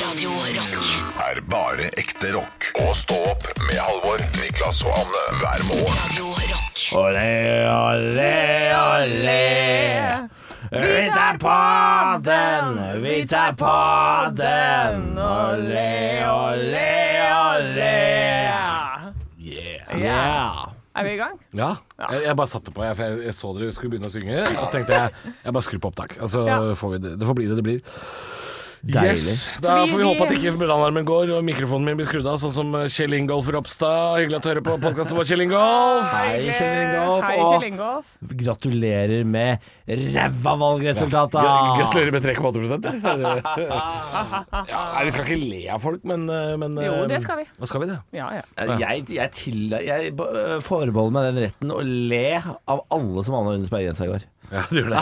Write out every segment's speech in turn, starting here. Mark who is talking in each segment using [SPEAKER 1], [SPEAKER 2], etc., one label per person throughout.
[SPEAKER 1] Radio Rock.
[SPEAKER 2] er bare ekte rock. Og stå opp med Halvor, Niklas og Anne hver morgen.
[SPEAKER 1] Radio Rock.
[SPEAKER 3] Olé, olé, olé. Vi tar podden, vi tar podden. Olé, olé, olé. Yeah.
[SPEAKER 4] Yeah. Er vi i gang?
[SPEAKER 5] Ja. Jeg, jeg bare satte på, jeg, for jeg, jeg så dere skulle begynne å synge. Og så tenkte jeg jeg bare skrur på opptak. Altså,
[SPEAKER 4] Ja.
[SPEAKER 5] får vi det. det får bli det det blir.
[SPEAKER 3] Deilig.
[SPEAKER 5] Yes, Da
[SPEAKER 4] Fordi
[SPEAKER 5] får vi
[SPEAKER 4] vi-
[SPEAKER 5] håpe at ikke brannalarmen går og mikrofonen min blir skrudd av, sånn som Kjell Ingolf Ropstad. Hyggelig at du hører på podkasten vår, Kjell Ingolf.
[SPEAKER 3] Hei, Kjell Ingolf,
[SPEAKER 4] Hei,
[SPEAKER 3] og-
[SPEAKER 4] Kjell Ingolf.
[SPEAKER 3] Gratulerer med ræva valgresultatet.
[SPEAKER 5] Gra- Gratulerer med 3,8 ja, nei, Vi skal ikke le av folk, men, eh, men
[SPEAKER 4] Jo,
[SPEAKER 5] eh,
[SPEAKER 4] det skal vi.
[SPEAKER 5] Hva skal vi det?
[SPEAKER 4] Ja, ja.
[SPEAKER 3] Eh, Jeg, jeg, til, jeg øh, forbeholder meg den retten å le av alle som annet under sperregrensa i går.
[SPEAKER 5] Ja, du gjør det.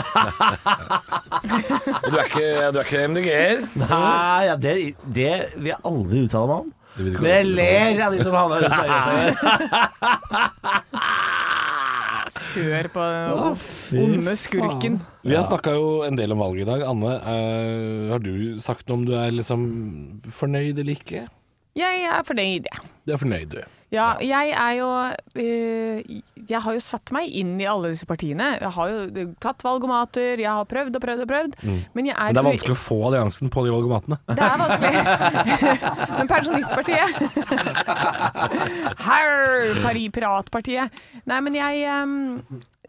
[SPEAKER 5] Og du er ikke, du er ikke MDG-er?
[SPEAKER 3] Nei, ja, det, det vil jeg aldri uttale meg om.
[SPEAKER 5] Det vil du ikke
[SPEAKER 3] Men jeg
[SPEAKER 5] uttale
[SPEAKER 3] ler av de som havna under sperregrensa i går.
[SPEAKER 4] Hør på den onde skurken.
[SPEAKER 5] Vi har snakka jo en del om valget i dag. Anne, eh, har du sagt noe om du er liksom fornøyd eller ikke?
[SPEAKER 4] Jeg er fornøyd, jeg.
[SPEAKER 5] Du er fornøyd, du.
[SPEAKER 4] Ja, jeg er jo øh, Jeg har jo satt meg inn i alle disse partiene. Jeg har jo tatt valgomater, jeg har prøvd og prøvd og prøvd. Men jeg er
[SPEAKER 5] Men det er vanskelig å få alliansen på de valgomatene.
[SPEAKER 4] Det er vanskelig. Men Pensjonistpartiet Herr, Pari Piratpartiet. Nei, men jeg ehm,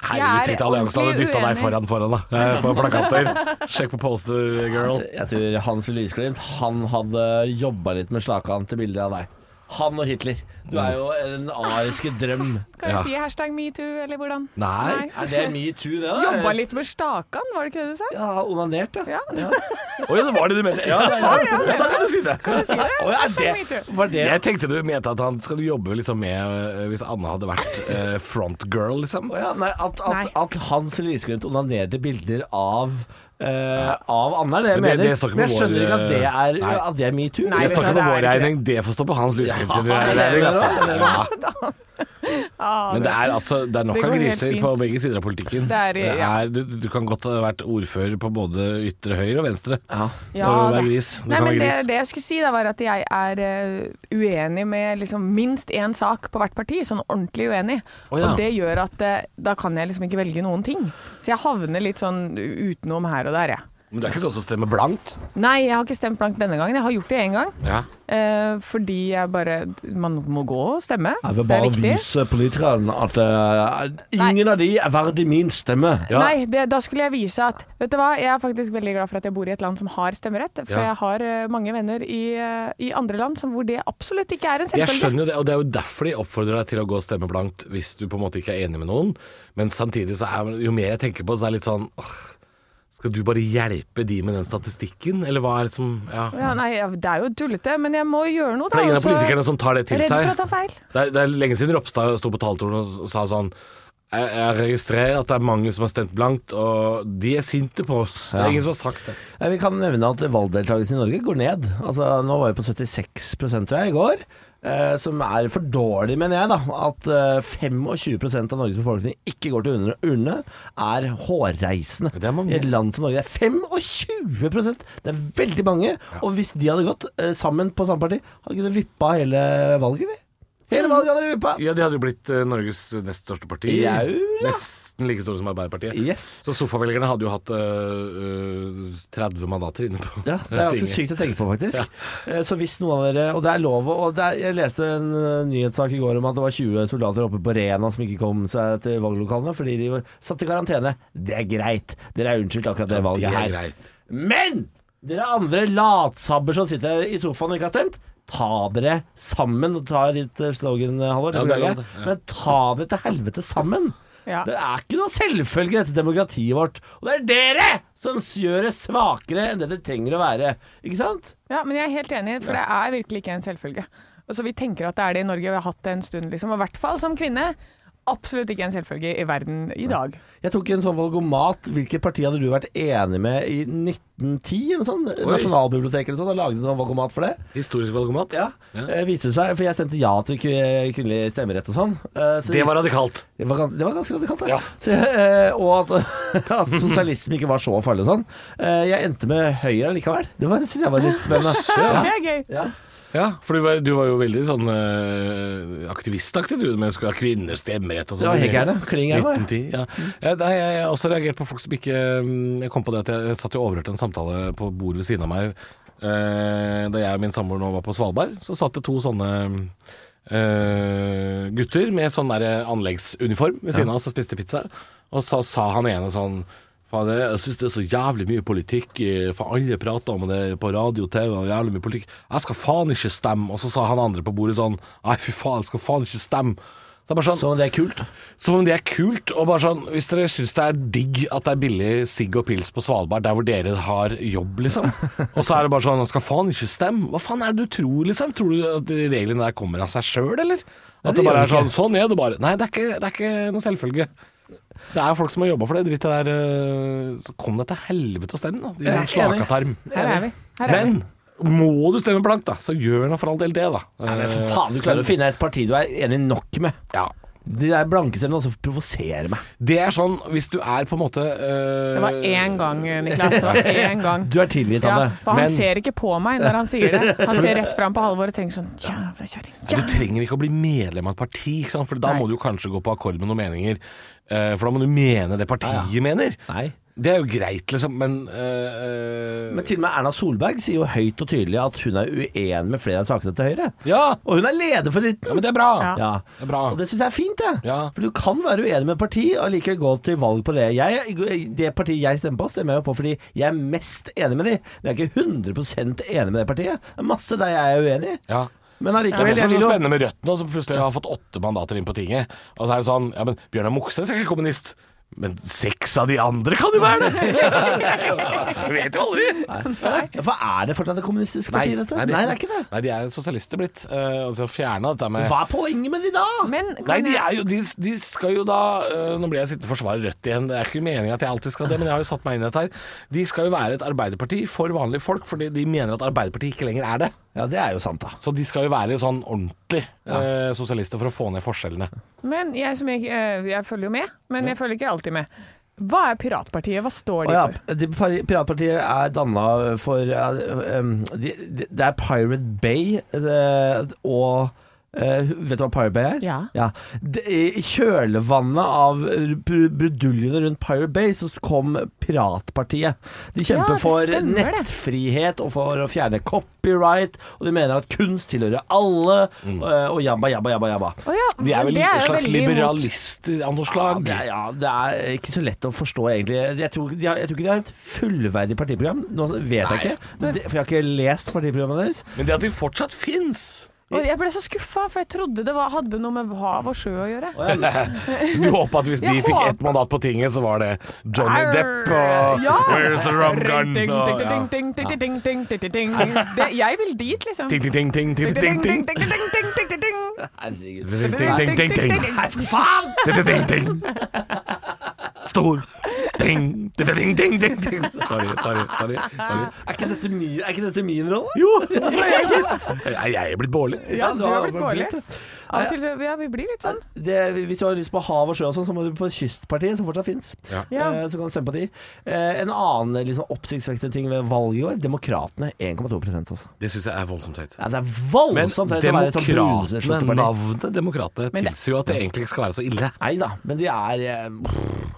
[SPEAKER 5] Herregud,
[SPEAKER 4] Jeg er
[SPEAKER 5] tenkte alliansen hadde
[SPEAKER 4] ordentlig
[SPEAKER 5] dytta deg
[SPEAKER 4] uenig.
[SPEAKER 5] foran foran, da. Eh, På plakater. Sjekk på poster, girl.
[SPEAKER 3] Altså, Jeg tror Hans Lysglimt Han hadde jobba litt med slakan til bilder av deg. Han og Hitler. Du er jo den ariske drøm.
[SPEAKER 4] Kan jeg
[SPEAKER 5] Ja.
[SPEAKER 4] si hashtag metoo, eller hvordan?
[SPEAKER 5] Nei.
[SPEAKER 3] Er det metoo, det? da?
[SPEAKER 4] Jobba litt med stakan, var det ikke det du sa?
[SPEAKER 3] Ja, onanert, ja.
[SPEAKER 4] Ja,
[SPEAKER 5] Å ja, det var det du mente. Ja, ja, ja. ja, da kan du si det.
[SPEAKER 4] kan du si det?
[SPEAKER 3] Å, ja,
[SPEAKER 4] Hashtag
[SPEAKER 3] det,
[SPEAKER 4] metoo.
[SPEAKER 3] var det
[SPEAKER 5] Jeg tenkte du mente at han skal jobbe liksom med eh, Hvis Anne hadde vært eh, front girl, liksom.
[SPEAKER 3] Å ja, nei, at,
[SPEAKER 4] Nei.
[SPEAKER 3] at, at Hans Lysglimt onanerte bilder av eh, av Anna, er det jeg
[SPEAKER 5] Men det-
[SPEAKER 3] mener.
[SPEAKER 5] det står ikke på
[SPEAKER 3] Men jeg skjønner
[SPEAKER 5] vår,
[SPEAKER 3] ikke at det er,
[SPEAKER 5] nei.
[SPEAKER 3] at det er metoo.
[SPEAKER 4] Nei,
[SPEAKER 5] Jeg
[SPEAKER 4] vet du
[SPEAKER 5] snakker
[SPEAKER 4] hva,
[SPEAKER 5] på vår
[SPEAKER 4] det er ikke
[SPEAKER 5] regning, det får stå på hans lysglimt sin
[SPEAKER 3] Ja, det er
[SPEAKER 5] regning.
[SPEAKER 3] det,
[SPEAKER 5] Altså.
[SPEAKER 3] det er
[SPEAKER 5] Ja.
[SPEAKER 4] Ah,
[SPEAKER 5] Men det
[SPEAKER 4] det-
[SPEAKER 5] er, altså, det er nok
[SPEAKER 4] Det går
[SPEAKER 5] av
[SPEAKER 4] helt
[SPEAKER 5] griser
[SPEAKER 4] fint.
[SPEAKER 5] på begge sider av politikken.
[SPEAKER 4] Det er- ja.
[SPEAKER 5] er- du, du kan godt ha vært ordfører på både ytre høyre og venstre.
[SPEAKER 3] Ja.
[SPEAKER 4] Ja,
[SPEAKER 5] for å være
[SPEAKER 4] da.
[SPEAKER 5] gris. Du
[SPEAKER 4] Nei,
[SPEAKER 5] kan
[SPEAKER 4] men
[SPEAKER 5] være
[SPEAKER 4] det,
[SPEAKER 5] gris.
[SPEAKER 4] det jeg skulle si da, var at jeg er eh, uenig med liksom minst én sak på hvert parti, sånn ordentlig uenig.
[SPEAKER 5] Å, ja.
[SPEAKER 4] Og det gjør at eh, da kan jeg liksom ikke velge noen ting. Så jeg havner litt sånn utenom her og der, jeg.
[SPEAKER 5] Men det er ikke sånn som stemmer blankt.
[SPEAKER 4] Nei, jeg har ikke stemt blankt denne gangen. Jeg har gjort det én gang.
[SPEAKER 5] Ja.
[SPEAKER 4] eh, fordi jeg bare Man må gå og stemme.
[SPEAKER 3] Jeg vil
[SPEAKER 4] Det er
[SPEAKER 3] bare
[SPEAKER 4] viktig.
[SPEAKER 3] vise politikerne at eh, ingen av de er verdig min stemme.
[SPEAKER 4] Nei, det, da skulle jeg vise at Vet du hva, jeg er faktisk veldig glad for at jeg bor i et land som har stemmerett. For
[SPEAKER 5] Ja.
[SPEAKER 4] jeg har eh, mange venner i, eh, i andre land som, hvor det absolutt ikke er en
[SPEAKER 5] Jeg
[SPEAKER 4] selvfølge.
[SPEAKER 5] skjønner jo det, og det er jo derfor de oppfordrer deg til å gå og stemme blankt hvis du på en måte ikke er enig med noen. Men samtidig så er jo mer jeg tenker på, så er det litt sånn åh, Skal du bare hjelpe de med den statistikken, eller hva er liksom Ja.
[SPEAKER 4] Ja, nei, ja, det er jo tullete, men jeg må gjøre noe,
[SPEAKER 5] For
[SPEAKER 4] da.
[SPEAKER 5] det er ingen av
[SPEAKER 4] også.
[SPEAKER 5] politikerne som tar det til
[SPEAKER 4] Altså, Redd
[SPEAKER 5] seg.
[SPEAKER 4] for å ta feil.
[SPEAKER 5] Det er, det er lenge siden Ropstad sto på talerstolen og sa sånn jeg, jeg registrerer at det er mange som har stemt blankt, og de er sinte på oss. Det er
[SPEAKER 3] Ja.
[SPEAKER 5] ingen som har sagt det.
[SPEAKER 3] Ja, Vi kan nevne at valgdeltakelsen i Norge går ned. Altså, nå var vi på 76 tror jeg, i går. Eh, som er for dårlig, mener jeg, da. At eh, 25 av Norges befolkning ikke går til urne- urne, er hårreisende.
[SPEAKER 5] Det er mange.
[SPEAKER 3] I et land som Norge. Det er 25 Det er veldig mange. Og hvis de hadde gått eh, sammen på samme parti, hadde vi kunnet vippa hele valget, vi. Hele valget hadde vi vippa.
[SPEAKER 5] Ja, de hadde jo blitt eh, Norges nest største parti.
[SPEAKER 3] Jau, ja.
[SPEAKER 5] Nesten like store som Arbeiderpartiet.
[SPEAKER 3] Yes.
[SPEAKER 5] Så sofavelgerne hadde jo hatt eh, eh, 30 mandater inne på
[SPEAKER 3] Ja, det er altså ganske
[SPEAKER 5] tinget.
[SPEAKER 3] sykt å tenke på, faktisk. Eh, Så hvis noen av dere Og det er lov å og det er, Jeg leste en eh, nyhetssak i går om at det var 20 soldater oppe på Rena som ikke kom seg til valglokalene fordi de var satt i karantene. Det er greit. Dere er unnskyldt akkurat det valget
[SPEAKER 5] er
[SPEAKER 3] her.
[SPEAKER 5] greit.
[SPEAKER 3] Men dere andre latsabber som sitter i sofaen og ikke har stemt, ta dere sammen. Og ta ditt eh, slogan, eh, Halvor. det
[SPEAKER 5] Ja, det er
[SPEAKER 3] beklager
[SPEAKER 5] lov,
[SPEAKER 3] jeg.
[SPEAKER 5] det. Ja.
[SPEAKER 3] Men ta dere til helvete sammen.
[SPEAKER 4] Ja.
[SPEAKER 3] Det er ikke noe selvfølge, dette demokratiet vårt. Og det er dere som gjør det svakere enn det det trenger å være. Ikke sant?
[SPEAKER 4] Ja, men jeg er helt enig, for det er virkelig ikke en selvfølge. Og så Vi tenker at det er det i Norge, og vi har hatt det en stund, liksom. Og i hvert fall som kvinne. Absolutt ikke en selvfølge i verden i dag.
[SPEAKER 3] Jeg tok en sånn valgomat. Hvilket parti hadde du vært enig med i 19 1910 eller noe sånt. Nasjonalbiblioteket eller sånt har laget en sånn valgomat for det.
[SPEAKER 5] Historisk valgomat?
[SPEAKER 3] Ja, eh, viste det seg, for jeg stemte ja til kvi- kvinnelig stemmerett og sånn. eh, så
[SPEAKER 5] Det var radikalt.
[SPEAKER 3] det var, gans- det var ganske radikalt, da.
[SPEAKER 5] Ja.
[SPEAKER 3] Så, eh, og at, at sosialisme ikke var så farlig og sånn. Eh, jeg endte med Høyre likevel. Det var- synes jeg var litt spennende.
[SPEAKER 4] Det
[SPEAKER 3] Ja.
[SPEAKER 4] er gøy.
[SPEAKER 3] Ja.
[SPEAKER 5] Ja, for du var, du var jo veldig sånn eh, aktivistaktig, du, med å skulle ha kvinners stemmerett og
[SPEAKER 3] Det
[SPEAKER 5] sånn.
[SPEAKER 3] var helt gærne. Kling gærne, var jeg.
[SPEAKER 5] 1910, ja. Ja, nei, jeg har også reagert på folk som ikke mm, Jeg kom på det at jeg satt og overhørte en samtale på bordet ved siden av meg eh, da jeg og min samboer nå var på Svalbard. Så satt det to sånne eh, gutter med sånn der anleggsuniform ved siden av oss og spiste pizza. Og så sa han ene sånn Faen, jeg jeg syns det er så jævlig mye politikk. eh, For alle prater om det på radio, TV og jævlig mye politikk. Jeg skal faen ikke stemme. Og så sa han andre på bordet sånn Nei, fy faen, jeg skal faen ikke stemme. Så jeg bare sånn,
[SPEAKER 3] Så det er kult.
[SPEAKER 5] som om det er kult. Og bare sånn, Hvis dere syns det er digg at det er billig sigg og pils på Svalbard, der hvor dere har jobb, liksom. Og så er det bare sånn Skal faen ikke stemme? Hva faen er det du tror, liksom? Tror du at de reglene der kommer av seg sjøl, eller? At
[SPEAKER 3] det
[SPEAKER 5] det
[SPEAKER 3] gjør
[SPEAKER 5] bare er
[SPEAKER 3] det
[SPEAKER 5] sånn Sånn er det bare. Nei, det er ikke, det er ikke noe selvfølge. Det er folk som har jobba for det drittet der. øh, Så kom deg til helvete og stem, da.
[SPEAKER 3] Jeg
[SPEAKER 5] Din
[SPEAKER 3] er
[SPEAKER 5] slakatarm.
[SPEAKER 4] Her er vi. Her er vi.
[SPEAKER 5] Men må du stemme blankt, da, så gjør nå for all del det, da. Eh,
[SPEAKER 3] Men for faen, du klarer å finne et parti du er enig nok med.
[SPEAKER 5] Ja.
[SPEAKER 3] De der blankestemmene også provoserer meg.
[SPEAKER 5] Det er sånn hvis du er på en måte øh,
[SPEAKER 4] Det var én gang, Niklas. Det var én gang.
[SPEAKER 3] Du er tilgitt,
[SPEAKER 4] Ja,
[SPEAKER 3] Anne.
[SPEAKER 4] for han
[SPEAKER 5] Men-
[SPEAKER 4] ser ikke på meg når han sier det. Han ser rett fram på Halvor og tenker sånn Jævla kjerring.
[SPEAKER 5] Du trenger ikke å bli medlem av et parti, ikke sant? for da
[SPEAKER 4] Nei.
[SPEAKER 5] må du jo kanskje gå på akkord med noen meninger. eh, For da må du mene det partiet mener.
[SPEAKER 3] Nei.
[SPEAKER 5] Det er jo greit, liksom, men eh,
[SPEAKER 3] Men til og med Erna Solberg sier jo høyt og tydelig at hun er uenig med flere av sakene til Høyre.
[SPEAKER 5] ja,
[SPEAKER 3] Og hun er leder for
[SPEAKER 5] ja,
[SPEAKER 3] dritten.
[SPEAKER 5] men det er bra.
[SPEAKER 4] Ja.
[SPEAKER 3] Ja.
[SPEAKER 5] Det er bra.
[SPEAKER 3] Og det syns jeg er fint, jeg.
[SPEAKER 5] Ja.
[SPEAKER 3] For du kan være uenig med et parti og likevel gå til valg på det. Jeg, det partiet jeg stemmer på, stemmer jeg jo på fordi jeg er mest enig med de. Men jeg er ikke 100 enig med det partiet. Det er masse der jeg er uenig. i.
[SPEAKER 5] Ja.
[SPEAKER 3] Men
[SPEAKER 5] Det er
[SPEAKER 3] allikevel,
[SPEAKER 5] det
[SPEAKER 3] jeg
[SPEAKER 5] som er
[SPEAKER 3] vil
[SPEAKER 5] så
[SPEAKER 3] jo
[SPEAKER 5] spennende med Rødt nå, som plutselig har fått åtte mandater inn på tinget. Og så er det sånn Ja, men Bjørnar Moxnes er ikke kommunist. Men seks av de andre kan jo være det! Du vet jo aldri.
[SPEAKER 3] Ja, For er det fortsatt et kommunistisk parti, dette? Nei, det er ikke det.
[SPEAKER 5] Nei, de er sosialister blitt. eh, Og så fjerna dette med
[SPEAKER 3] Hva er poenget med de da?
[SPEAKER 4] Men eh,
[SPEAKER 5] Nei,
[SPEAKER 4] kan
[SPEAKER 5] de,
[SPEAKER 4] jeg
[SPEAKER 5] er jo, de, de skal jo da øh, Nå ble jeg sittende og forsvare Rødt igjen. Det er ikke meningen at jeg alltid skal det, men jeg har jo satt meg inn i dette her. De skal jo være et arbeiderparti for vanlige folk, fordi de mener at Arbeiderpartiet ikke lenger er det.
[SPEAKER 3] Ja, det er jo sant, da.
[SPEAKER 5] Så de skal jo være sånn ordentlig øh, sosialister for å få ned forskjellene.
[SPEAKER 4] Men jeg som ikke eh, Jeg følger jo med, men jeg følger ikke alltid med. Hva er Piratpartiet? Hva står
[SPEAKER 3] Å
[SPEAKER 4] de
[SPEAKER 3] ja,
[SPEAKER 4] for?
[SPEAKER 3] de, Pir- Piratpartiet er danna for ja, um, de, de, Det er Pirate Bay eh, og eh, Vet du hva Pirate Bay er?
[SPEAKER 4] Ja.
[SPEAKER 3] Det- I kjølvannet av br- bruduljene rundt Pirate Bay så kom Piratpartiet. De
[SPEAKER 4] Ja,
[SPEAKER 3] kjemper
[SPEAKER 4] det
[SPEAKER 3] for
[SPEAKER 4] stemmer det.
[SPEAKER 3] nettfrihet og for å fjerne copyright, og de mener at kunst tilhører alle, eh, og jabba, jabba, jabba, jabba.
[SPEAKER 4] Å ja,
[SPEAKER 5] De er vel
[SPEAKER 4] det
[SPEAKER 5] et
[SPEAKER 4] jo
[SPEAKER 5] slags
[SPEAKER 4] veldig imot-
[SPEAKER 5] liberalister av noe
[SPEAKER 3] Ja,
[SPEAKER 5] slag.
[SPEAKER 3] det, er, ja, det er ikke så lett å forstå, egentlig. Jeg tror, de har, jeg tror ikke de har et fullverdig partiprogram. Nå vet
[SPEAKER 5] Nei.
[SPEAKER 3] jeg ikke, men det, for jeg har ikke lest partiprogrammet deres.
[SPEAKER 5] Men det at de fortsatt fins
[SPEAKER 4] Og jeg ble så skuffa, for jeg trodde det var, hadde noe med hav og sjø å gjøre.
[SPEAKER 5] Du håper at hvis de
[SPEAKER 4] Jeg
[SPEAKER 5] fikk
[SPEAKER 4] håper-
[SPEAKER 5] ett mandat på tinget, så var det Johnny
[SPEAKER 4] Arr.
[SPEAKER 5] Depp og
[SPEAKER 4] Ja.
[SPEAKER 5] Where's the rum gun?
[SPEAKER 4] Ding,
[SPEAKER 5] og-
[SPEAKER 4] ding,
[SPEAKER 5] ja.
[SPEAKER 4] ding, ding, ding, ding, ding, ding, ding, ding. Det, jeg vil dit, liksom.
[SPEAKER 5] Ting, ting, ting, ting, ting, ting,
[SPEAKER 4] Ding,
[SPEAKER 5] ting.
[SPEAKER 4] ding, ding, ding, ding, ding, ding, ding, ding.
[SPEAKER 5] Ting, ting, ting, ting, ting.
[SPEAKER 3] Nei, for faen!
[SPEAKER 5] Ding, ding, ding, ding. Stor. Ding, ding, ding, ding, ding, ding. Sorry, sorry. sorry, sorry.
[SPEAKER 3] Er ikke dette min, er ikke dette min rolle?
[SPEAKER 5] Jo! Jeg jeg er blitt bårlig.
[SPEAKER 3] Ja,
[SPEAKER 4] Ja, du
[SPEAKER 3] da
[SPEAKER 4] har
[SPEAKER 3] har
[SPEAKER 4] blitt
[SPEAKER 3] man
[SPEAKER 4] Bårli.
[SPEAKER 3] blitt
[SPEAKER 4] Av og til så- Ja, vi blir litt sånn.
[SPEAKER 3] Det, hvis du har lyst på hav og sjø og sånn, så må du på Kystpartiet, som fortsatt fins.
[SPEAKER 5] Ja.
[SPEAKER 4] Ja.
[SPEAKER 3] Så kan du stemme på de. Eh, En annen liksom, oppsiktsvekkende ting ved valget i år, Demokratene 1,2 altså.
[SPEAKER 5] Det syns jeg er voldsomt høyt.
[SPEAKER 3] Ja, det er
[SPEAKER 5] Men
[SPEAKER 3] voldsomt høyt å være et sånt bruneste
[SPEAKER 5] demokratene,
[SPEAKER 3] parti.
[SPEAKER 5] navnet Demokratene
[SPEAKER 4] Men det-
[SPEAKER 5] tilsier jo at det egentlig ikke skal være så ille.
[SPEAKER 3] Nei da, men de er eh, pff,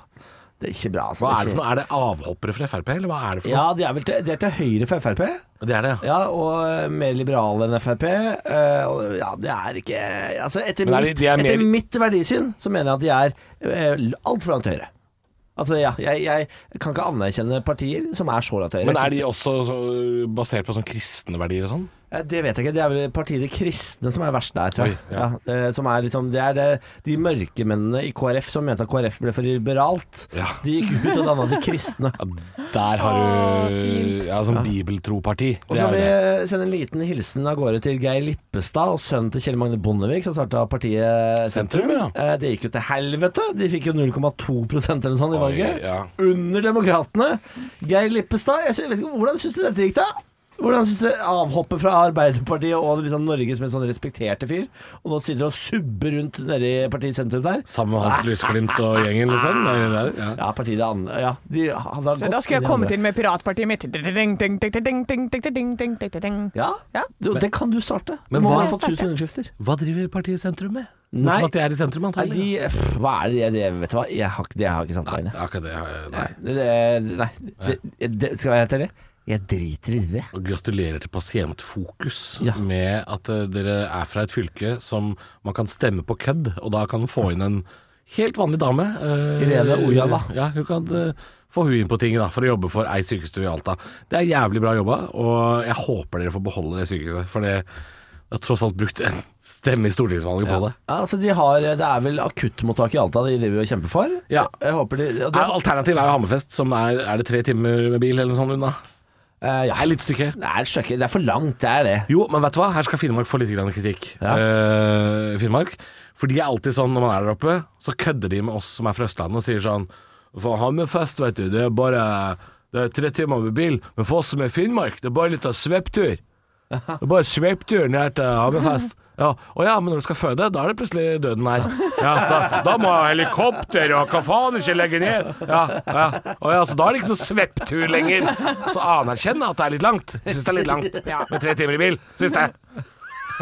[SPEAKER 3] Det er ikke bra. altså.
[SPEAKER 5] Hva er det for noe? Er det avhoppere fra Frp, eller hva er det for noe?
[SPEAKER 3] Ja, de er vel til, de er til høyre for Frp.
[SPEAKER 5] Det er det, ja.
[SPEAKER 3] Ja, og eh, mer liberale enn Frp. eh, og Ja, det er ikke Altså, etter,
[SPEAKER 5] Men er de-
[SPEAKER 3] mitt,
[SPEAKER 5] de er mer-
[SPEAKER 3] etter mitt verdisyn så mener jeg at de er altfor langt til høyre. Altså, ja, jeg, jeg kan ikke anerkjenne partier som er så langt til høyre.
[SPEAKER 5] Men er de også så, basert på sånn kristne verdier og sånn?
[SPEAKER 3] Eh, Det vet jeg ikke. Det er vel partiet De kristne som er verst der, tror jeg.
[SPEAKER 5] Oi,
[SPEAKER 3] ja.
[SPEAKER 5] ja.
[SPEAKER 3] eh, som er liksom, det er det, de mørkemennene i KrF som mente at KrF ble for liberalt.
[SPEAKER 5] Ja.
[SPEAKER 3] De gikk ut og danna De kristne.
[SPEAKER 5] Ja, der har
[SPEAKER 4] Å,
[SPEAKER 5] du
[SPEAKER 4] fint.
[SPEAKER 5] ja, sånn bibeltroparti.
[SPEAKER 3] Og
[SPEAKER 5] Det
[SPEAKER 3] så
[SPEAKER 5] er
[SPEAKER 3] vil
[SPEAKER 5] jo det.
[SPEAKER 3] jeg sende en liten hilsen av gårde til Geir Lippestad og sønnen til Kjell Magne Bondevik, som starta partiet Sentrum.
[SPEAKER 5] Sentrum, ja.
[SPEAKER 3] Eh, Det gikk jo til helvete. De fikk jo 0,2 eller noe sånt i
[SPEAKER 5] Oi,
[SPEAKER 3] valget.
[SPEAKER 5] ja.
[SPEAKER 3] Under Demokratene. Geir Lippestad, jeg sy- vet ikke, hvordan syns du dette gikk, da? Hvordan syns du avhoppet fra Arbeiderpartiet og liksom Norges mest sånn respekterte fyr, og nå sitter du og subber rundt nede i partiet Sentrum der?
[SPEAKER 5] Sammen med Hans Lysglimt og gjengen, liksom. Det er det der, ja.
[SPEAKER 3] Ja, partiet det andre Ja, de hadde
[SPEAKER 4] Så da skulle jeg komme til med piratpartiet mitt. Ding, ding, ding, ding, ding, ding, ding, ding, ding, ding.
[SPEAKER 3] Ja,
[SPEAKER 4] Ja.
[SPEAKER 3] Du, det kan du starte.
[SPEAKER 5] Men
[SPEAKER 3] du må
[SPEAKER 5] hva-
[SPEAKER 3] ha fått 1000 underskrifter.
[SPEAKER 5] Hva driver partiet Sentrum med?
[SPEAKER 3] Nei.
[SPEAKER 5] Bortsett fra at de er i sentrum,
[SPEAKER 3] Nei,
[SPEAKER 5] antagelig.
[SPEAKER 3] de, pff, hva er det, jeg- det Vet du hva, jeg har, ikke- det har jeg ikke sant meg inn i.
[SPEAKER 5] Nei, akkurat det. har jeg- Nei.
[SPEAKER 3] Det- det- Nei, det, det, skal jeg være helt ærlig? Jeg driter i det.
[SPEAKER 5] Og gratulerer til Pasientfokus
[SPEAKER 3] Ja.
[SPEAKER 5] med at eh, dere er fra et fylke som man kan stemme på kødd, og da kan man få inn en helt vanlig dame. eh,
[SPEAKER 3] Irene Ojala.
[SPEAKER 5] Ja, hun kan eh, få hun inn på ting da, for å jobbe for ei sykestue i Alta. Det er jævlig bra jobba, og jeg håper dere får beholde det sykehuset, for det jeg har tross alt brukt en stemme i stortingsvalget på det.
[SPEAKER 3] Altså, de har, det er vel akuttmottak i Alta de driver og kjemper for.
[SPEAKER 5] Ja.
[SPEAKER 3] Jeg håper de, og det-
[SPEAKER 5] Nei, Alternativet er jo Hammerfest, som er, er det tre timer med bil eller noe sånt unna?
[SPEAKER 3] eh, ja,
[SPEAKER 5] Det er litt stykke.
[SPEAKER 3] det er et stykke- det er for langt, det er det.
[SPEAKER 5] Jo, men vet du hva? Her skal Finnmark få litt grann kritikk.
[SPEAKER 3] Ja.
[SPEAKER 5] Eh, Finnmark. For de er alltid sånn når man er der oppe, så kødder de med oss som er fra Østlandet og sier sånn For Hammerfest, vet du, det er bare Det er tre timer med bil. Men for oss som er i Finnmark, det er bare litt av svepptur. Det er bare svepptur ned til Hammerfest. Ja. Å ja, men når du skal føde, da er det plutselig døden her. Ja, da, da må jeg ha helikopter og hva faen ikke legge ned. Ja, ja. Å ja, så da er det ikke noe svepptur lenger. Så anerkjenn at det er litt langt. Syns det er litt langt med tre timer i bil. Syns det.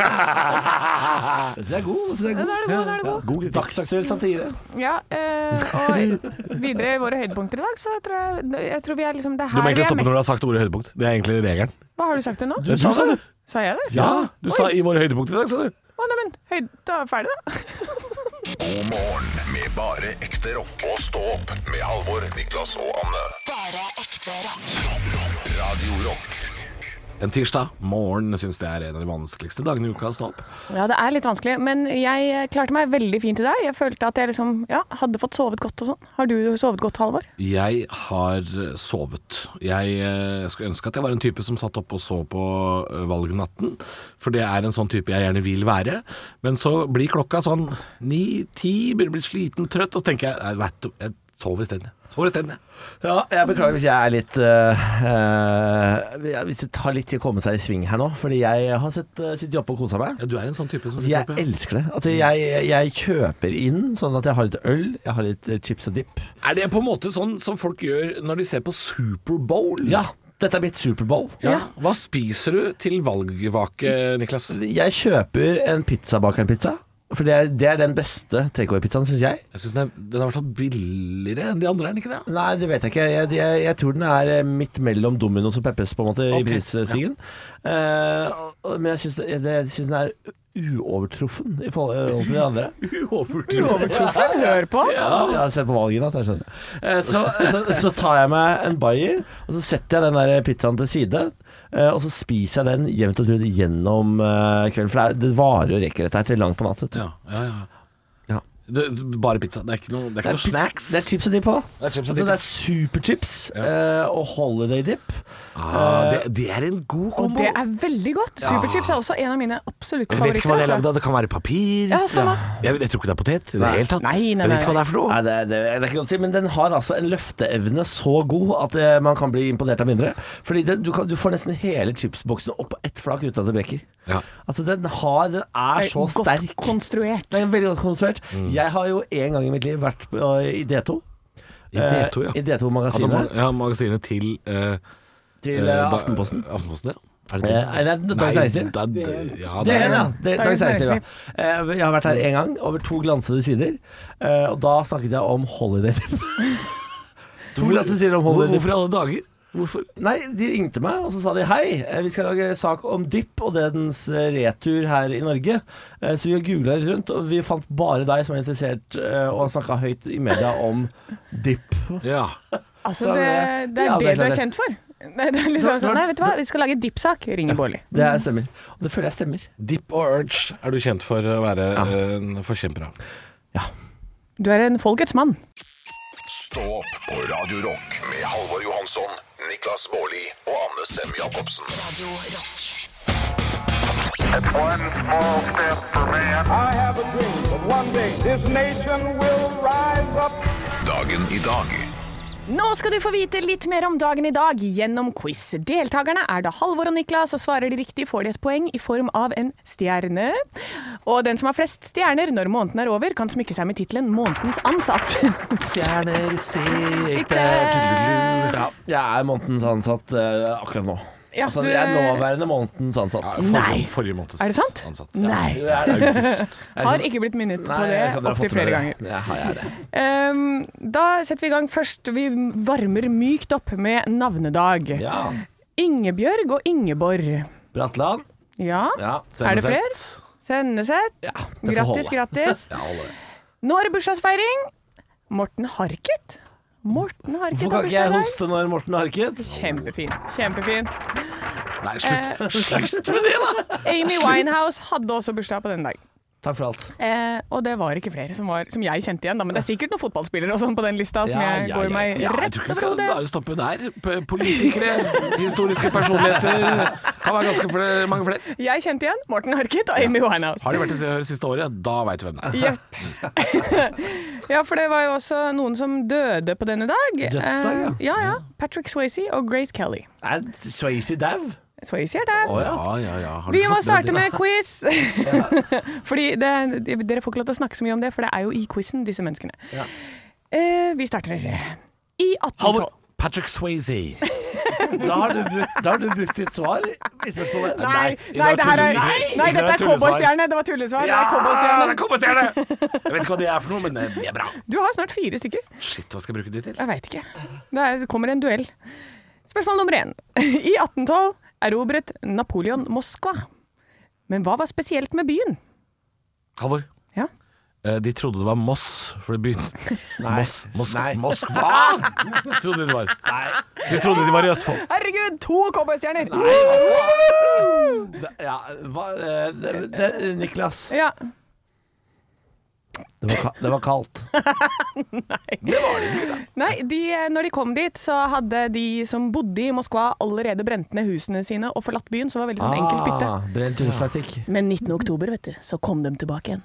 [SPEAKER 3] Den synes jeg er god. Den synes jeg er
[SPEAKER 4] Ja, da er det god, da er det god.
[SPEAKER 3] god. Dagsaktuell satire.
[SPEAKER 4] Ja, eh, og videre i våre høydepunkter i dag, så tror jeg, jeg tror vi er liksom Det er her vi er mest
[SPEAKER 5] har sagt ordet høydepunkt. Det er egentlig regelen.
[SPEAKER 4] Hva har du sagt det nå?
[SPEAKER 5] Du sa det.
[SPEAKER 4] Sa jeg det?
[SPEAKER 5] Ja, du sa i våre høydepunkt i dag, sa du.
[SPEAKER 4] Å, nei, men høyde, da er vi ferdig, da.
[SPEAKER 2] God morgen med bare ekte rock. Og stå opp med Halvor, Niklas og Anne.
[SPEAKER 1] Bare ekte rock.
[SPEAKER 2] Radio Rock.
[SPEAKER 5] En tirsdag morgen syns det er en av de vanskeligste dagene i uka å stå opp.
[SPEAKER 4] Ja, det er litt vanskelig, men jeg eh, klarte meg veldig fint i dag. Jeg følte at jeg liksom ja, hadde fått sovet godt og sånn. Har du sovet godt, Halvor?
[SPEAKER 5] Jeg har eh, sovet. Jeg eh, skulle ønske at jeg var en type som satt oppe og så på eh, valgnatten, for det er en sånn type jeg gjerne vil være. Men så blir klokka sånn ni-ti, begynner å bli sliten, trøtt, og så tenker jeg "Nei, vet du, jeg sover isteden. jeg. Sover isteden. jeg."
[SPEAKER 3] Ja, jeg beklager hvis jeg er litt øh, øh, ja, Hvis det tar litt tid å komme seg i sving her nå, fordi jeg har sett, øh, sittet oppe og kosa meg.
[SPEAKER 5] Ja, du er en sånn type som
[SPEAKER 3] Altså, jeg
[SPEAKER 5] sitter oppe.
[SPEAKER 3] elsker det. Altså, jeg, jeg kjøper inn sånn at jeg har litt øl, jeg har litt eh, chips og dip.
[SPEAKER 5] Er det på en måte sånn som folk gjør når de ser på Superbowl?
[SPEAKER 3] Ja, dette er mitt Superbowl.
[SPEAKER 5] ja. Hva spiser du til valgvake, Niklas?
[SPEAKER 3] Jeg kjøper en pizzabakeren-pizza, for det er, det er den beste takeaway-pizzaen, syns jeg.
[SPEAKER 5] Jeg syns den, er- den har vært sånn billigere enn de andre, er den ikke det?
[SPEAKER 3] Nei, det vet jeg ikke. Jeg, jeg, jeg tror den er eh, midt mellom Domino's og Peppes, på en måte,
[SPEAKER 5] Ok,
[SPEAKER 3] i prisstigen. Eh, og- og- men jeg syns det- jeg syns den er uovertruffen i forhold til de andre.
[SPEAKER 4] Uovertruffen, hør på!
[SPEAKER 3] Ja, jeg har sett på valgene at jeg skjønner. Eh, Så, så, så tar jeg meg en bayer, og så setter jeg den der pizzaen til side. eh, Og så spiser jeg den jevnt og trutt gjennom eh, kvelden. For det, er, det varer jo rekker dette her til langt på natt. vet du.
[SPEAKER 5] Ja, ja, ja.
[SPEAKER 3] Ja.
[SPEAKER 5] Det, det- bare pizza. Det er ikke noe, det er ikke noe
[SPEAKER 3] pi-
[SPEAKER 5] snacks.
[SPEAKER 3] Det er chips og dip på.
[SPEAKER 5] Det er chips og
[SPEAKER 3] Altså,
[SPEAKER 5] dip.
[SPEAKER 3] det er superchips eh, og holiday dip.
[SPEAKER 5] ah, det, det er en god
[SPEAKER 4] Og
[SPEAKER 5] kombo.
[SPEAKER 4] det er veldig godt. Superchips er også en av mine absolutte
[SPEAKER 5] Jeg vet ikke hva det
[SPEAKER 4] favoritter.
[SPEAKER 5] er lagd
[SPEAKER 4] altså.
[SPEAKER 5] av. Det kan være papir.
[SPEAKER 4] Ja, samme.
[SPEAKER 5] Jeg, jeg tror ikke det er potet i det
[SPEAKER 3] Nei.
[SPEAKER 5] hele tatt.
[SPEAKER 4] Nei, nei,
[SPEAKER 5] jeg
[SPEAKER 4] nei,
[SPEAKER 5] vet ikke hva det er for noe.
[SPEAKER 3] Nei, det, det, det er ikke godt å si, men den har altså en løfteevne så god at eh, man kan bli imponert av mindre. Fordi det, du, kan, du får nesten hele chipsboksen opp på ett flak uten at det brekker.
[SPEAKER 5] Ja.
[SPEAKER 3] Altså, den, har, den er så
[SPEAKER 4] Godt
[SPEAKER 3] sterk.
[SPEAKER 4] konstruert.
[SPEAKER 3] Den er veldig godt konstruert.
[SPEAKER 5] Mm.
[SPEAKER 3] Jeg har jo en gang i mitt liv vært på, eh, i D2.
[SPEAKER 5] I D2, ja.
[SPEAKER 3] Eh, I D2-magasinet
[SPEAKER 5] Altså, ma- ja, magasinet til eh,
[SPEAKER 3] til
[SPEAKER 5] eh,
[SPEAKER 3] eh,
[SPEAKER 5] da-
[SPEAKER 3] Aftenposten.
[SPEAKER 5] Aftenposten, ja. Er det
[SPEAKER 3] Eh, eller er det Dagens Næringsliv?
[SPEAKER 5] det er- det- ja,
[SPEAKER 3] Det er en, ja. Det,
[SPEAKER 4] Dagens
[SPEAKER 3] Dagens Næringsliv, ja. Eh, Jeg har vært her én gang, over to glansede sider. eh, Og da snakket jeg om holiday. to glansede sider om
[SPEAKER 5] Hvor,
[SPEAKER 3] holiday.
[SPEAKER 5] hvorfor i alle dager? Hvorfor?
[SPEAKER 3] Nei, de ringte meg og så sa de hei, eh, vi skal lage sak om dipp og dens eh, retur her i Norge. Eh, Så vi googla rundt, og vi fant bare deg som er interessert eh, og snakka høyt i media om dipp.
[SPEAKER 5] Ja.
[SPEAKER 4] Altså,
[SPEAKER 3] Så
[SPEAKER 4] det,
[SPEAKER 3] det-
[SPEAKER 4] det
[SPEAKER 3] ja, det er
[SPEAKER 4] er Altså, det du er
[SPEAKER 3] klart.
[SPEAKER 4] kjent for. Nei, det er liksom sånn, nei, vet du hva, vi skal lage dipsak. Ringer Bårli.
[SPEAKER 3] Det er- stemmer. Og det føler jeg stemmer.
[SPEAKER 5] Dip og Urge er du kjent for å være en forkjemper av.
[SPEAKER 3] Ja.
[SPEAKER 4] Du er en folkets mann.
[SPEAKER 2] Stå opp på Radio Rock med Halvor Johansson, Niklas Baarli og Anne Sem Jacobsen.
[SPEAKER 1] It's one small step for man.
[SPEAKER 6] I have a dream that one day this nation will rise up.
[SPEAKER 2] Dagen i dag
[SPEAKER 4] Nå skal du få vite litt mer om dagen i dag gjennom quiz. Deltakerne er da Halvor og Niklas, og svarer de riktig får de et poeng i form av en stjerne. Og den som har flest stjerner når måneden er over, kan smykke seg med tittelen 'Månedens ansatt'.
[SPEAKER 5] Stjerner i sikte
[SPEAKER 3] ja. Jeg er månedens ansatt eh, akkurat nå.
[SPEAKER 4] Ja,
[SPEAKER 3] altså,
[SPEAKER 4] du
[SPEAKER 3] jeg er
[SPEAKER 4] er-
[SPEAKER 3] nåværende månedens ansatt.
[SPEAKER 4] Nei.
[SPEAKER 5] Forrige måneds
[SPEAKER 4] Er det sant?
[SPEAKER 5] ansatt.
[SPEAKER 4] Nei.
[SPEAKER 3] Det er
[SPEAKER 5] August.
[SPEAKER 4] Har ikke blitt minnet på
[SPEAKER 3] Nei, jeg kan
[SPEAKER 4] det
[SPEAKER 3] dere ha
[SPEAKER 4] opptil
[SPEAKER 3] fått med
[SPEAKER 4] flere
[SPEAKER 3] dere.
[SPEAKER 4] ganger.
[SPEAKER 3] Ja, jeg er det.
[SPEAKER 4] Ehm, da setter vi i gang først. Vi varmer mykt opp med navnedag.
[SPEAKER 3] Ja.
[SPEAKER 4] Ingebjørg og Ingeborg.
[SPEAKER 3] Bratland.
[SPEAKER 4] Ja.
[SPEAKER 3] Ja.
[SPEAKER 4] Er det flere? Senneset.
[SPEAKER 3] får holde.
[SPEAKER 4] grattis, grattis.
[SPEAKER 5] Ja, alle det.
[SPEAKER 4] Nå er det bursdagsfeiring. Morten Harket. Morten Harket
[SPEAKER 3] Hvorfor
[SPEAKER 4] har
[SPEAKER 3] kan ikke jeg
[SPEAKER 4] bursdag i dag.
[SPEAKER 3] hoste når Morten harket?
[SPEAKER 4] Kjempefin. Kjempefin.
[SPEAKER 5] Nei, slutt.
[SPEAKER 4] Amy Winehouse hadde også bursdag på den dagen.
[SPEAKER 3] Takk for alt.
[SPEAKER 4] Eh, og det var ikke flere som, var, som jeg kjente igjen, da, men det er sikkert noen fotballspillere og sånn på den lista som jeg går meg
[SPEAKER 5] ja, jeg
[SPEAKER 4] rett
[SPEAKER 5] tror ikke vi
[SPEAKER 4] over
[SPEAKER 5] skal
[SPEAKER 4] hodet.
[SPEAKER 5] bare stoppe der. P- Politikere, historiske personligheter. Kan være ganske flere, mange flere.
[SPEAKER 4] Jeg kjente igjen Morten Harket og Amy Winehouse.
[SPEAKER 5] Har de vært i det siste året, da veit du hvem det er.
[SPEAKER 4] Jepp. ja, for det var jo også noen som døde på denne dag.
[SPEAKER 3] Dødsdag, ja.
[SPEAKER 4] Eh, ja, ja. Patrick Swayze og Grace Kelly.
[SPEAKER 3] Er Swayze dau?
[SPEAKER 4] Swayze er der.
[SPEAKER 3] Å ja.
[SPEAKER 5] ja, ja. Har du
[SPEAKER 4] Vi
[SPEAKER 5] ikke
[SPEAKER 4] må
[SPEAKER 5] fått
[SPEAKER 4] starte
[SPEAKER 5] det?
[SPEAKER 4] med quiz! Fordi det, Dere får ikke lov til å snakke så mye om det, for det er jo i quizen, disse menneskene. Eh, vi starter i 1812.
[SPEAKER 5] Halvor Patrick Swayze.
[SPEAKER 3] Da har, du brukt, da har du brukt ditt svar i spørsmålet.
[SPEAKER 4] Nei,
[SPEAKER 5] Nei,
[SPEAKER 4] nei,
[SPEAKER 5] det var
[SPEAKER 4] det her er,
[SPEAKER 5] tulle- Nei,
[SPEAKER 4] nei,
[SPEAKER 5] det
[SPEAKER 4] dette
[SPEAKER 5] var
[SPEAKER 4] er
[SPEAKER 5] tullesvar.
[SPEAKER 4] cowboystjerne. Det var tullesvar. det er cowboystjerne.
[SPEAKER 5] Kobberstjerne! Jeg vet ikke hva det er for noe, men eh, det er bra.
[SPEAKER 4] Du har snart fire stykker.
[SPEAKER 5] Shit, hva skal jeg bruke de til?
[SPEAKER 4] Jeg veit ikke. Det er- kommer en duell. Spørsmål nummer én. I 1812 erobret Napoleon Moskva. Men hva var spesielt med byen?
[SPEAKER 5] Halvor.
[SPEAKER 4] Ja.
[SPEAKER 5] Eh, De trodde det var Moss, for det begynte Moss, Moss,
[SPEAKER 3] Nei.
[SPEAKER 5] Moskva! Trodde de det var. De trodde de var i Østfold.
[SPEAKER 4] Herregud, to cowboystjerner!
[SPEAKER 3] Da- Ja, hva, eh, det, det, Niklas.
[SPEAKER 4] Ja.
[SPEAKER 3] Det var, ka- det var kaldt.
[SPEAKER 4] Nei, de, eh, når de kom dit, så hadde de som bodde i Moskva allerede brent ned husene sine og forlatt byen, så det var veldig sånn enkelt bytte.
[SPEAKER 3] Ah, Brent jordstaktikk.
[SPEAKER 4] Men 19. oktober, vet du, så kom de tilbake igjen.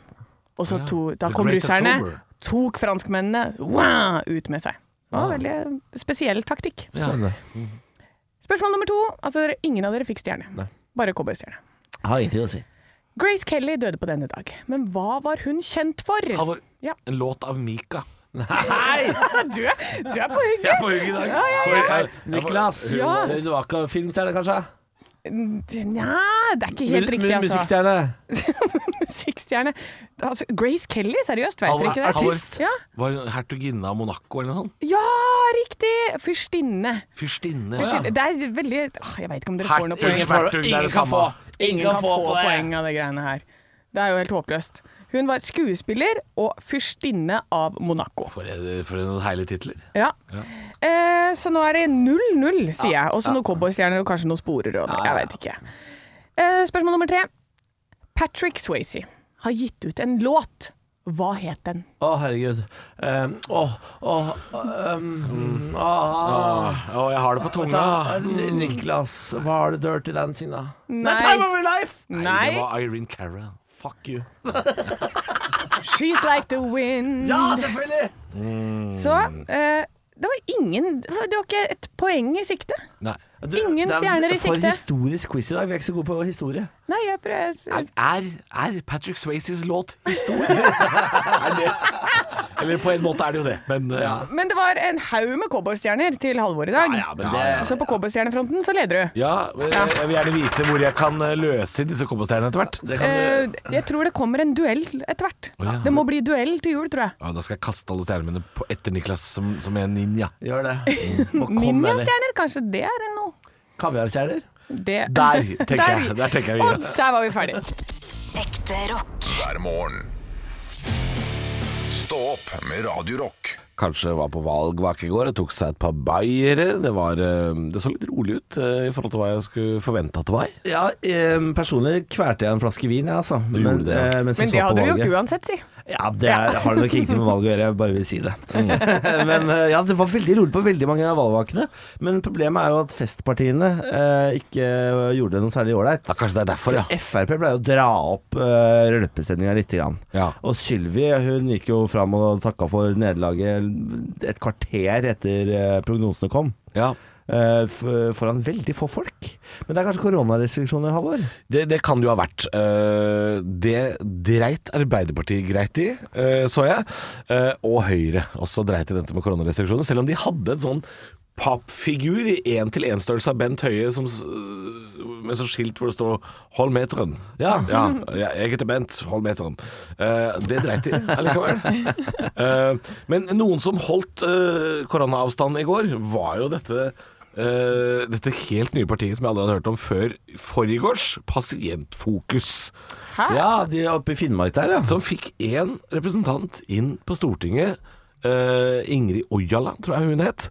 [SPEAKER 4] Og så to, da
[SPEAKER 5] The
[SPEAKER 4] kom
[SPEAKER 5] Great
[SPEAKER 4] russerne,
[SPEAKER 5] October.
[SPEAKER 4] tok franskmennene wow, ut med seg. Det var
[SPEAKER 5] Ah.
[SPEAKER 4] en veldig spesiell taktikk.
[SPEAKER 3] Spennende.
[SPEAKER 4] Spørsmål nummer to. Altså, dere, ingen av dere fikk stjerne.
[SPEAKER 3] Nei.
[SPEAKER 4] Bare cowboystjerne.
[SPEAKER 3] Jeg Har ingenting å si.
[SPEAKER 4] Grace Kelly døde på denne dag, men hva var hun kjent for?
[SPEAKER 5] Halvor,
[SPEAKER 4] Ja.
[SPEAKER 5] en låt av Mika.
[SPEAKER 4] Du, er, du er på hugget!
[SPEAKER 5] Jeg er på hugget i dag. Jeg er på-
[SPEAKER 3] Niklas,
[SPEAKER 4] Ja.
[SPEAKER 3] du var ikke filmstjerne, kanskje?
[SPEAKER 4] Nja, det er ikke helt
[SPEAKER 3] Mu-
[SPEAKER 4] riktig,
[SPEAKER 3] mu-
[SPEAKER 4] altså.
[SPEAKER 3] Musikkstjerne.
[SPEAKER 4] Musikkstjerne. Altså, Grace Kelly, seriøst, vet
[SPEAKER 5] Halvor,
[SPEAKER 4] dere ikke det?
[SPEAKER 5] Halvor.
[SPEAKER 4] Ja.
[SPEAKER 5] Var hun hertuginne av Monaco eller noe sånt?
[SPEAKER 4] ja, riktig! Fyrstinne.
[SPEAKER 5] Fyrstinne.
[SPEAKER 4] Fyrstinne. Det er veldig Åh, Jeg veit ikke om dere får noe poeng.
[SPEAKER 5] Ingen får- ingen kan få.
[SPEAKER 4] Ingen kan få poeng av det greiene her. Det er jo helt håpløst. Hun var skuespiller og fyrstinne av Monaco.
[SPEAKER 5] For, eh, for noen herlige titler.
[SPEAKER 4] Ja. Eh, så nå er det 0-0, sier jeg. Og så noen cowboystjerner og kanskje noen sporer. Og det. Jeg vet ikke. Eh, spørsmål nummer tre. Patrick Swayze har gitt ut en låt. Hva het den?
[SPEAKER 3] Å, herregud. Um, Å, å, um, å,
[SPEAKER 5] Å, jeg har det på tunga.
[SPEAKER 3] da, Niklas, hva har du dirty dancing, da?
[SPEAKER 4] Nei.
[SPEAKER 3] Time of your life!
[SPEAKER 5] Nei, det var Irene Cara.
[SPEAKER 3] Fuck you.
[SPEAKER 4] She's like the wind.
[SPEAKER 3] Ja, selvfølgelig!
[SPEAKER 4] Så eh, det var ingen Det var ikke et poeng i sikte.
[SPEAKER 5] Nei.
[SPEAKER 3] Du,
[SPEAKER 4] Ingen
[SPEAKER 3] det er-
[SPEAKER 4] stjerner i
[SPEAKER 3] For
[SPEAKER 4] sikte.
[SPEAKER 3] historisk quiz i dag. Vi er ikke så gode på historie.
[SPEAKER 4] Nei, jeg prøver
[SPEAKER 5] Er, er, er Patrick Swayzes låt historie? er det? Eller på en måte er det jo det, men eh,
[SPEAKER 4] Men det var en haug med cowboystjerner til Halvor i dag.
[SPEAKER 3] Ja, men
[SPEAKER 5] Ja,
[SPEAKER 3] det,
[SPEAKER 4] Så på cowboystjernefronten så leder du.
[SPEAKER 5] ja, eh, jeg vil gjerne vite hvor jeg kan eh, løse inn disse kobbesteinene etter hvert.
[SPEAKER 3] det kan du
[SPEAKER 4] Eh, jeg tror det kommer en duell etter hvert.
[SPEAKER 5] Å, ja.
[SPEAKER 4] Det må bli duell til jul, tror jeg.
[SPEAKER 5] Ja, da skal jeg kaste alle stjernene mine på etter Niklas som, som er ninja.
[SPEAKER 3] Gjør det. Må komme med det.
[SPEAKER 4] Ninjastjerner, kanskje det er en noe?
[SPEAKER 3] Kaviarstjerner.
[SPEAKER 4] Det.
[SPEAKER 5] Der tenker jeg- der tenker jeg vi gir
[SPEAKER 4] Og
[SPEAKER 5] oss.
[SPEAKER 4] der var vi ferdige.
[SPEAKER 7] Ekte rock.
[SPEAKER 2] hver morgen. Stå opp med Radio Rock.
[SPEAKER 5] Kanskje var på valgvake i går og tok seg et par bayere. Det, var, eh, det så litt rolig ut eh, i forhold til hva jeg skulle forvente at det var.
[SPEAKER 3] Ja, eh, personlig kvelte jeg en flaske vin, jeg, altså.
[SPEAKER 5] Du gjorde det, ja.
[SPEAKER 3] eh, mens jeg så
[SPEAKER 4] Men det
[SPEAKER 3] på
[SPEAKER 4] hadde du
[SPEAKER 3] valget.
[SPEAKER 4] gjort uansett, si.
[SPEAKER 3] Ja, det er, har nok ingenting med valg å gjøre, jeg bare vil si det. men eh, ja, det var veldig rolig på veldig mange av valgvakene. Men problemet er jo at festpartiene eh, ikke gjorde det noe særlig ålreit.
[SPEAKER 5] Ja, kanskje det er derfor, ja.
[SPEAKER 3] Frp pleier å dra opp uh, rølpestemninga litt. Grann.
[SPEAKER 5] Ja.
[SPEAKER 3] Og Sylvi eh, hun gikk jo fram og takka for nederlaget et kvarter etter eh, prognosene kom.
[SPEAKER 5] ja.
[SPEAKER 3] eh, f- foran veldig få folk. Men det er kanskje koronarestriksjoner, Halvor?
[SPEAKER 5] Det, det kan det jo ha vært. Eh, Det dreit Arbeiderpartiet greit i, eh, så jeg. Eh, Og Høyre også dreit i dette med koronarestriksjoner. Selv om de hadde en sånn pappfigur i én-til-én-størrelse av Bent Høie som, s- med sånn skilt hvor det står 'hold meteren'.
[SPEAKER 3] Ja.
[SPEAKER 5] ja jeg heter Bent, hold meteren. Eh, det dreit de allikevel. Eh, men noen som holdt eh, koronaavstand i går, var jo dette eh, dette helt nye partiet som jeg aldri hadde hørt om før forgårs, Pasientfokus.
[SPEAKER 4] Hæ?
[SPEAKER 3] Ja, de er oppe i Finnmark der, ja.
[SPEAKER 5] Som fikk én representant inn på Stortinget. eh, Ingrid Ojala, tror jeg hun het.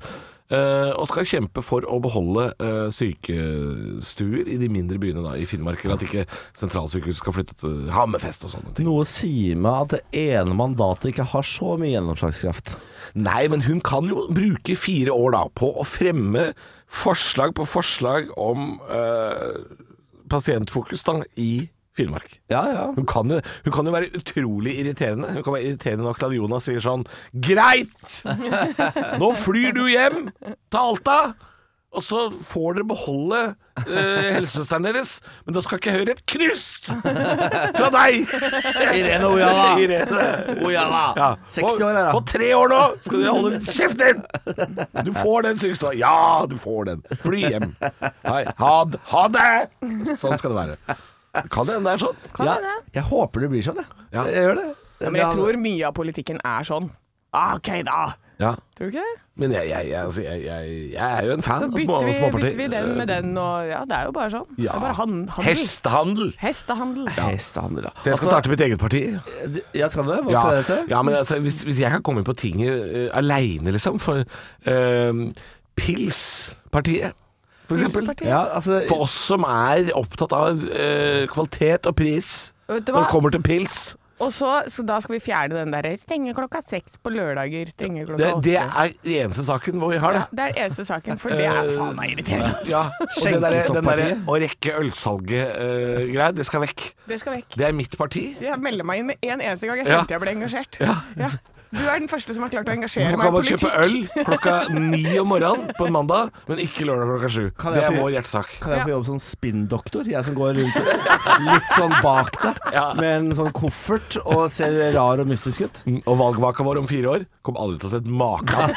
[SPEAKER 5] eh, og skal kjempe for å beholde eh, sykestuer i de mindre byene da, i Finnmark. Eller at ikke sentralsykehuset skal flytte til Hammerfest og sånne ting.
[SPEAKER 3] Noe sier meg at det ene mandatet ikke har så mye gjennomslagskraft.
[SPEAKER 5] Nei, men hun kan jo bruke fire år da på å fremme forslag på forslag om eh, pasientfokus da, i Finnmark.
[SPEAKER 3] Ja, ja.
[SPEAKER 5] Hun kan, jo, hun kan jo være utrolig irriterende. Hun kan være irriterende nok til at Jonas sier sånn Greit! Nå flyr du hjem til Alta, og så får dere beholde eh, helsesøsteren deres, men da skal ikke jeg høre et knust fra deg!
[SPEAKER 3] Irene Ojala.
[SPEAKER 5] Irene.
[SPEAKER 3] Ojala.
[SPEAKER 5] Ja.
[SPEAKER 3] 60 år er
[SPEAKER 5] På
[SPEAKER 3] hun.
[SPEAKER 5] tre år nå skal du holde kjeft din! Du får den sykestua. Ja, du får den. Fly hjem. Nei, ha, d- ha det! Sånn skal det være. Kan det hende det er sånn?
[SPEAKER 4] Kan
[SPEAKER 3] Ja,
[SPEAKER 4] det det?
[SPEAKER 3] jeg håper det blir sånn, jeg.
[SPEAKER 5] Ja.
[SPEAKER 3] Jeg gjør det.
[SPEAKER 4] Ja, Men jeg tror mye av politikken er sånn. Ah, OK, da.
[SPEAKER 5] Ja.
[SPEAKER 4] Tror du ikke det?
[SPEAKER 5] Men jeg, jeg, jeg, altså, jeg, jeg, jeg er jo en fan
[SPEAKER 4] Så
[SPEAKER 5] av små,
[SPEAKER 4] bytter vi,
[SPEAKER 5] småparti.
[SPEAKER 4] bytter vi den med den, og ja, det er jo bare sånn. Det
[SPEAKER 5] Ja.
[SPEAKER 4] er bare han, handel.
[SPEAKER 5] Hestehandel!
[SPEAKER 4] Hestehandel.
[SPEAKER 3] Hestehandel,
[SPEAKER 5] Så jeg skal starte mitt eget parti.
[SPEAKER 3] Altså, ja, skal du det? Hva
[SPEAKER 5] Ja,
[SPEAKER 3] skal det hete?
[SPEAKER 5] ja men altså, hvis, hvis jeg kan komme inn på tinget uh, aleine, liksom For eh, Pilspartiet, for eksempel.
[SPEAKER 4] Hestepartiet.
[SPEAKER 3] Ja, altså
[SPEAKER 5] For oss som er opptatt av eh, kvalitet og pris
[SPEAKER 4] Vet du
[SPEAKER 5] når
[SPEAKER 4] hva?
[SPEAKER 5] det kommer til pils.
[SPEAKER 4] Og så, så da skal vi fjerne den derre stenge klokka seks på lørdager, stenge
[SPEAKER 5] Det,
[SPEAKER 4] klokka åtte.
[SPEAKER 5] det er den eneste saken hvor vi har det.
[SPEAKER 4] Ja, det er eneste saken, for det er faen meg irriterende. ass.
[SPEAKER 5] Ja, og det der, den derre
[SPEAKER 3] Skjenkestopppartiet.
[SPEAKER 5] å rekke ølsalget-greia, det skal vekk.
[SPEAKER 4] Det skal vekk.
[SPEAKER 5] Det er mitt parti.
[SPEAKER 4] Jeg melder meg inn med en eneste gang. Jeg
[SPEAKER 5] Ja.
[SPEAKER 4] kjente jeg ble engasjert.
[SPEAKER 5] Ja.
[SPEAKER 4] Ja. Du er den første som har klart å engasjere
[SPEAKER 5] Hvorfor
[SPEAKER 4] meg
[SPEAKER 5] kan
[SPEAKER 4] i
[SPEAKER 5] man kjøpe
[SPEAKER 4] politikk.
[SPEAKER 5] øl klokka ni om morgenen på en mandag, men ikke lørdag klokka sju?
[SPEAKER 3] Kan
[SPEAKER 5] Det
[SPEAKER 3] jeg
[SPEAKER 5] er
[SPEAKER 3] få-
[SPEAKER 5] vår hjertesak.
[SPEAKER 3] Kan jeg få
[SPEAKER 4] Ja.
[SPEAKER 3] jobbe som spinndoktor? Jeg som går rundt litt sånn bak deg
[SPEAKER 5] Ja.
[SPEAKER 3] med en sånn koffert og ser rar og mystisk ut.
[SPEAKER 5] Og valgvaka vår om fire år kommer aldri til å se et maken.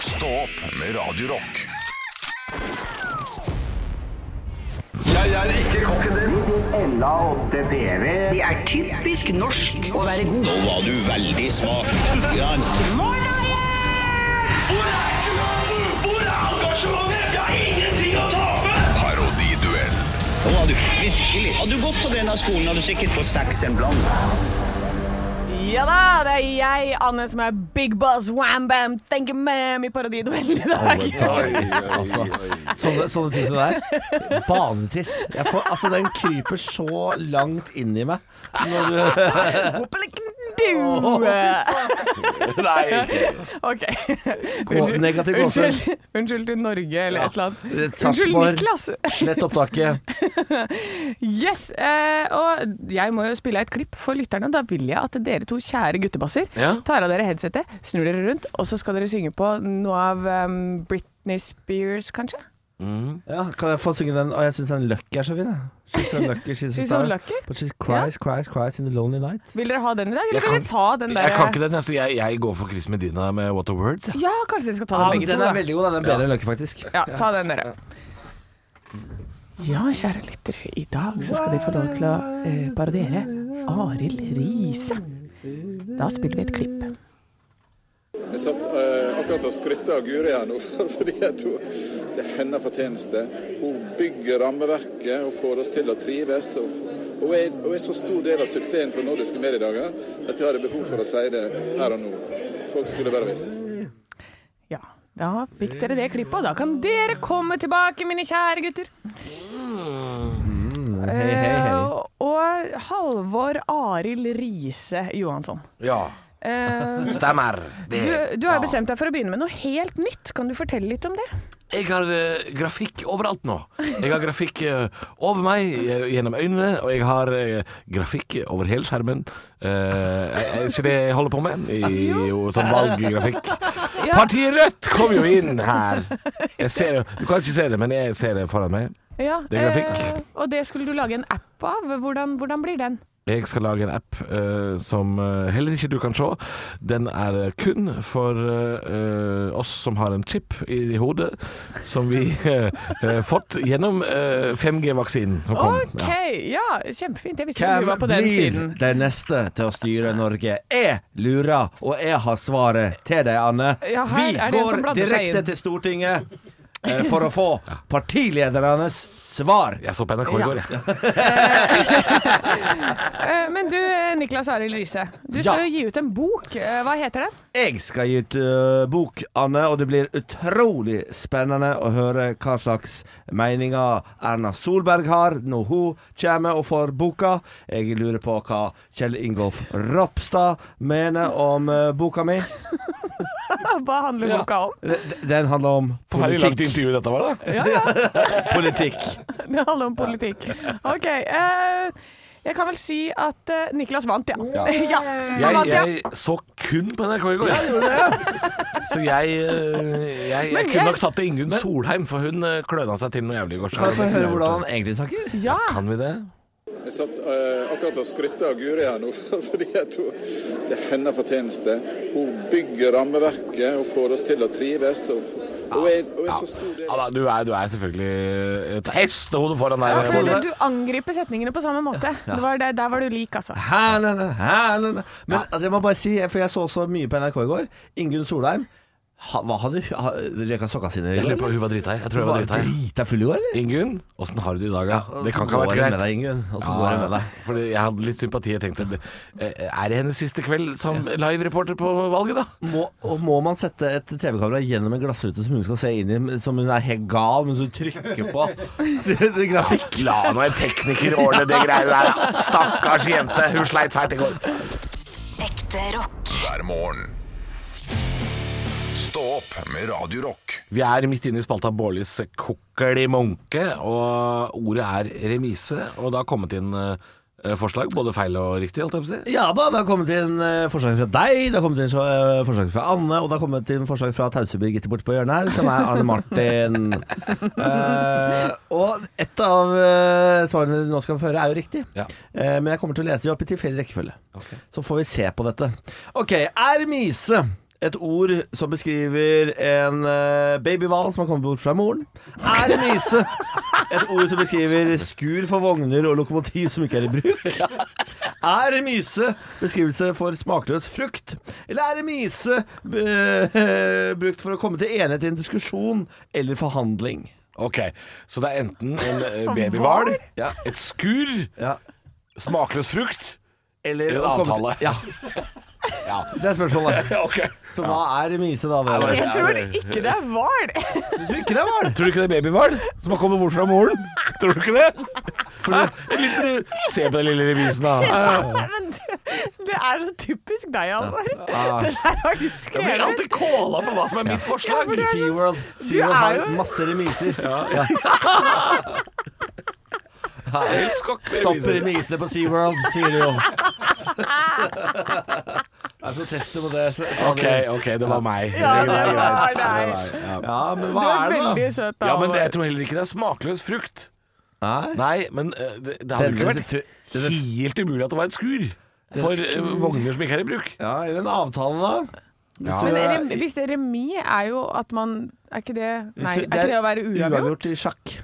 [SPEAKER 2] Stå opp med Radio Rock.
[SPEAKER 7] Det er typisk norsk å være god. Nå var du veldig smart.
[SPEAKER 8] Hvor er engasjementet? Jeg har ingenting å tape!
[SPEAKER 2] Parodiduell.
[SPEAKER 7] Nå var du virkelig. Hadde du gått på denne skolen, hadde du sikkert fått seks en blank.
[SPEAKER 4] Ja da, det er jeg, Anne, som er big boss, wam bam, thank you ma'am, i parodiduell i dag.
[SPEAKER 3] Altså, sånne, sånne ting som det der. Banetiss. Jeg får, altså, den kryper så langt inn i meg. Når du,
[SPEAKER 4] Nei. OK. Unnskyld-
[SPEAKER 3] negativ gåse.
[SPEAKER 4] unnskyld, unnskyld til Norge eller et eller
[SPEAKER 3] Det er
[SPEAKER 4] annet. Unnskyld,
[SPEAKER 3] Sarpsborg.
[SPEAKER 4] Niklas.
[SPEAKER 3] slett opptaket.
[SPEAKER 4] Yes, eh, og jeg må jo spille et klipp for lytterne. Da vil jeg at dere to kjære guttebasser
[SPEAKER 5] Ja.
[SPEAKER 4] tar av dere headsetet, snur dere rundt, og så skal dere synge på noe av em, Britney Spears, kanskje?
[SPEAKER 3] Ja, kan jeg få synge den? Og jeg syns den Lucky er så fin. jeg. She's so lucky, she's a
[SPEAKER 4] She's so
[SPEAKER 3] star.
[SPEAKER 4] lucky?
[SPEAKER 3] But she cries, cries, cries in the lonely night.
[SPEAKER 4] Vil dere ha den i dag,
[SPEAKER 5] Jeg
[SPEAKER 4] eller
[SPEAKER 5] kan-
[SPEAKER 4] vil dere ta den der?
[SPEAKER 5] Jeg kan ikke den. Altså, jeg, jeg går for Chris Medina med What a Words. jeg.
[SPEAKER 4] Ja, kanskje dere skal ta
[SPEAKER 3] Ja,
[SPEAKER 4] den
[SPEAKER 3] men
[SPEAKER 4] begge
[SPEAKER 3] den
[SPEAKER 4] to.
[SPEAKER 3] er
[SPEAKER 4] da.
[SPEAKER 3] veldig god. Den er bedre enn Lucky, faktisk.
[SPEAKER 4] Ja, ta den dere. Ja, kjære lytter, i dag så skal de få lov til å eh, parodiere Arild Riise. Da spiller vi et klipp.
[SPEAKER 9] Jeg satt eh, akkurat og skrytte av Guri her nå, for- fordi jeg tror det er hennes fortjeneste. Hun bygger rammeverket og får oss til å trives og og er, og er så stor del av suksessen for nordiske mediedager at jeg hadde behov for å si det her og nå. Folk skulle bare visst.
[SPEAKER 4] Ja, da fikk dere det klippet, og da kan dere komme tilbake, mine kjære gutter.
[SPEAKER 3] Hei, hei, hei.
[SPEAKER 4] Eh, og Halvor Arild Riise Johansson.
[SPEAKER 5] Ja.
[SPEAKER 4] Eh,
[SPEAKER 5] Stemmer.
[SPEAKER 4] du, du har jo bestemt deg for å begynne med noe helt nytt. Kan du fortelle litt om det?
[SPEAKER 5] Jeg har eh, grafikk overalt nå. Jeg har grafikk eh, over meg, eh, gjennom øynene, og jeg har eh, grafikk over hele skjermen. Eh, er ikke det jeg holder på med? I, jo, sånn valggrafikk.
[SPEAKER 4] Ja.
[SPEAKER 5] Partiet Rødt kom jo inn her! Jeg ser, jo- du kan ikke se det, men jeg ser det foran meg.
[SPEAKER 4] Ja,
[SPEAKER 5] Det er grafikk.
[SPEAKER 4] eh, og det skulle du lage en app av. Hvordan, hvordan blir den?
[SPEAKER 5] Jeg skal lage en app eh, som eh, heller ikke du kan se. Den er eh, kun for eh, eh, oss som har en chip i, hodet, som vi eh, eh, fått gjennom eh, 5G-vaksinen som kom.
[SPEAKER 4] OK,
[SPEAKER 5] Ja.
[SPEAKER 4] ja, kjempefint. Jeg visste ikke du
[SPEAKER 3] Hvem
[SPEAKER 4] var på den
[SPEAKER 3] blir
[SPEAKER 4] siden.
[SPEAKER 3] den neste til å styre Norge? Jeg lurer, og jeg har svaret til deg, Anne.
[SPEAKER 4] Ja, her
[SPEAKER 3] Vi
[SPEAKER 4] er det en som
[SPEAKER 3] går
[SPEAKER 4] blander seg
[SPEAKER 3] direkte
[SPEAKER 4] inn.
[SPEAKER 3] til Stortinget eh, for å få partiledernes svar.
[SPEAKER 5] Jeg så på NRK i
[SPEAKER 4] Ja.
[SPEAKER 5] går, jeg.
[SPEAKER 4] Eh, Men du, eh, Niklas Arild Riise. Du
[SPEAKER 3] Ja.
[SPEAKER 4] skal jo gi ut en bok. Eh, Hva heter den?
[SPEAKER 3] Jeg skal gi ut eh, bok, Anne, og det blir utrolig spennende å høre hva slags meninger Erna Solberg har når hun kommer og får boka. Jeg lurer på hva Kjell Ingolf Ropstad mener om eh, boka mi.
[SPEAKER 4] Hva handler boka om?
[SPEAKER 3] Den- Den handler om politikk.
[SPEAKER 5] intervju dette var, da.
[SPEAKER 3] politikk.
[SPEAKER 4] Det handler om politikk. OK. eh, jeg kan vel si at eh, Niklas vant, ja. Ja, han
[SPEAKER 5] Jeg,
[SPEAKER 4] vant, ja.
[SPEAKER 5] jeg så kun på NRK i går. Så jeg, eh, jeg, jeg
[SPEAKER 4] Men
[SPEAKER 5] kunne
[SPEAKER 4] jeg-
[SPEAKER 5] nok tatt til Ingunn Solheim, for hun eh, kløna seg til noe jævlig i går. så
[SPEAKER 3] Kan jeg få
[SPEAKER 5] det-
[SPEAKER 3] høre hvordan han egentlig snakker?
[SPEAKER 4] ja.
[SPEAKER 5] Kan vi det?
[SPEAKER 9] Jeg satt eh, akkurat og skrytte av Guri her nå, fordi at hun, det er hennes fortjeneste. Hun bygger rammeverket, hun får oss til å trives. Og, og er, og er så stor del
[SPEAKER 5] Ja, da, du, er, du er selvfølgelig et hestehode foran
[SPEAKER 4] Ja,
[SPEAKER 5] deg.
[SPEAKER 4] fordi
[SPEAKER 5] Frode.
[SPEAKER 4] du, du angriper setningene på samme måte. Det var det, der var du lik, altså.
[SPEAKER 3] Hælene, hælene. Men altså, jeg må bare si, for jeg så så mye på NRK i går. Ingunn Solheim, ha, hva hadde hun ha, Røyka sokka sine?
[SPEAKER 5] Jeg lurer på, hun var drita i. Jeg
[SPEAKER 3] Hun
[SPEAKER 5] tror jeg
[SPEAKER 3] var
[SPEAKER 5] var drita i.
[SPEAKER 3] drita full i går, eller?
[SPEAKER 5] Ingunn, åssen har du det i dag? da? Det kan ikke ha
[SPEAKER 3] Går
[SPEAKER 5] vært
[SPEAKER 3] det med
[SPEAKER 5] greit.
[SPEAKER 3] deg, Ingunn? Åssen
[SPEAKER 5] Ja,
[SPEAKER 3] går det med deg?
[SPEAKER 5] fordi jeg hadde litt sympati. Jeg tenkte eh, Er det hennes siste kveld som live-reporter på valget, da?
[SPEAKER 3] Må, og må man sette et TV-kamera gjennom en glassrute som hun skal se inn i, som hun er helt gal mens hun trykker på det, det grafikk?
[SPEAKER 5] La nå en tekniker ordne det greiene der, da. Stakkars jente. Hun sleit fælt i går.
[SPEAKER 10] Ekte rock.
[SPEAKER 2] hver morgen. Stå opp med Radio Rock.
[SPEAKER 5] Vi er midt inne i spalta Bårlis kokkelimunke, og ordet er remise. Og det har kommet inn eh, forslag, både feil og riktig, holdt jeg på å si.
[SPEAKER 3] Ja da, det har kommet inn eh, forslag fra deg, det har kommet inn eh, forslag fra Anne, og det har kommet inn forslag fra Tause-Birgitte borte på hjørnet her, som er Arne Martin. Eh, og et av eh, svarene du nå skal få høre, er jo riktig.
[SPEAKER 5] Ja.
[SPEAKER 3] Eh, men jeg kommer til å lese de opp i tilfeldig rekkefølge. Så får vi se på dette. Ok, er mise et ord som beskriver en eh, babyhval som har kommet bort fra moren? Er mise et ord som beskriver skur for vogner og lokomotiv som ikke er i bruk? Er mise beskrivelse for smakløs frukt? Eller er mise eh, brukt for å komme til enighet i en diskusjon eller forhandling?
[SPEAKER 5] Ok, så det er enten en eh, babyhval,
[SPEAKER 3] Ja.
[SPEAKER 5] et skur,
[SPEAKER 3] Ja.
[SPEAKER 5] smakløs frukt
[SPEAKER 3] Eller
[SPEAKER 5] En
[SPEAKER 3] å komme til-
[SPEAKER 5] avtale.
[SPEAKER 3] Ja.
[SPEAKER 5] Ja.
[SPEAKER 3] Det er spørsmålet.
[SPEAKER 5] Ok
[SPEAKER 3] Så hva er mise, da? Dere?
[SPEAKER 5] Nei,
[SPEAKER 4] Jeg tror ikke det er hval.
[SPEAKER 3] Jeg tror ikke det var det.
[SPEAKER 5] Tror du ikke det er babyhval som har kommet bort fra moren? Tror du ikke det? Hæ? En liten- Se på den lille revisen, da.
[SPEAKER 4] Men du, det er så typisk deg, Halvor. Det der har du
[SPEAKER 5] Jeg Ah. blir alltid
[SPEAKER 4] skrevet.
[SPEAKER 5] kåla på hva som er mitt forslag.
[SPEAKER 3] SeaWorld SeaWorld
[SPEAKER 4] er
[SPEAKER 3] har
[SPEAKER 4] jo-
[SPEAKER 3] masse remiser. Ja.
[SPEAKER 5] Helt skokk
[SPEAKER 3] Stopp
[SPEAKER 5] reviser.
[SPEAKER 3] remisene på SeaWorld, sier de jo. Det er protester mot det. sa- sa
[SPEAKER 5] Ok,
[SPEAKER 3] de.
[SPEAKER 5] ok, det var meg.
[SPEAKER 4] Ja, det var
[SPEAKER 5] er
[SPEAKER 4] deg.
[SPEAKER 5] greit. Det var- ja.
[SPEAKER 3] Ja, men
[SPEAKER 4] Du
[SPEAKER 3] hva
[SPEAKER 4] er
[SPEAKER 3] er det,
[SPEAKER 4] veldig søt, da,
[SPEAKER 5] Ja, men det, jeg
[SPEAKER 4] Halvor.
[SPEAKER 5] tror heller ikke det er smakløs frukt.
[SPEAKER 3] da? Nei.
[SPEAKER 5] Nei, men eh, det, det hadde jo ikke vært helt umulig at det var et skur. For eh, vogner som ikke er i bruk.
[SPEAKER 3] Ja, eller en avtale, da. Hvis du-
[SPEAKER 4] Men rem, hvis det er remis, er jo at man Er ikke det Nei, er
[SPEAKER 3] Hvis du-
[SPEAKER 4] ikke det å være uavgjort?
[SPEAKER 3] i sjakk.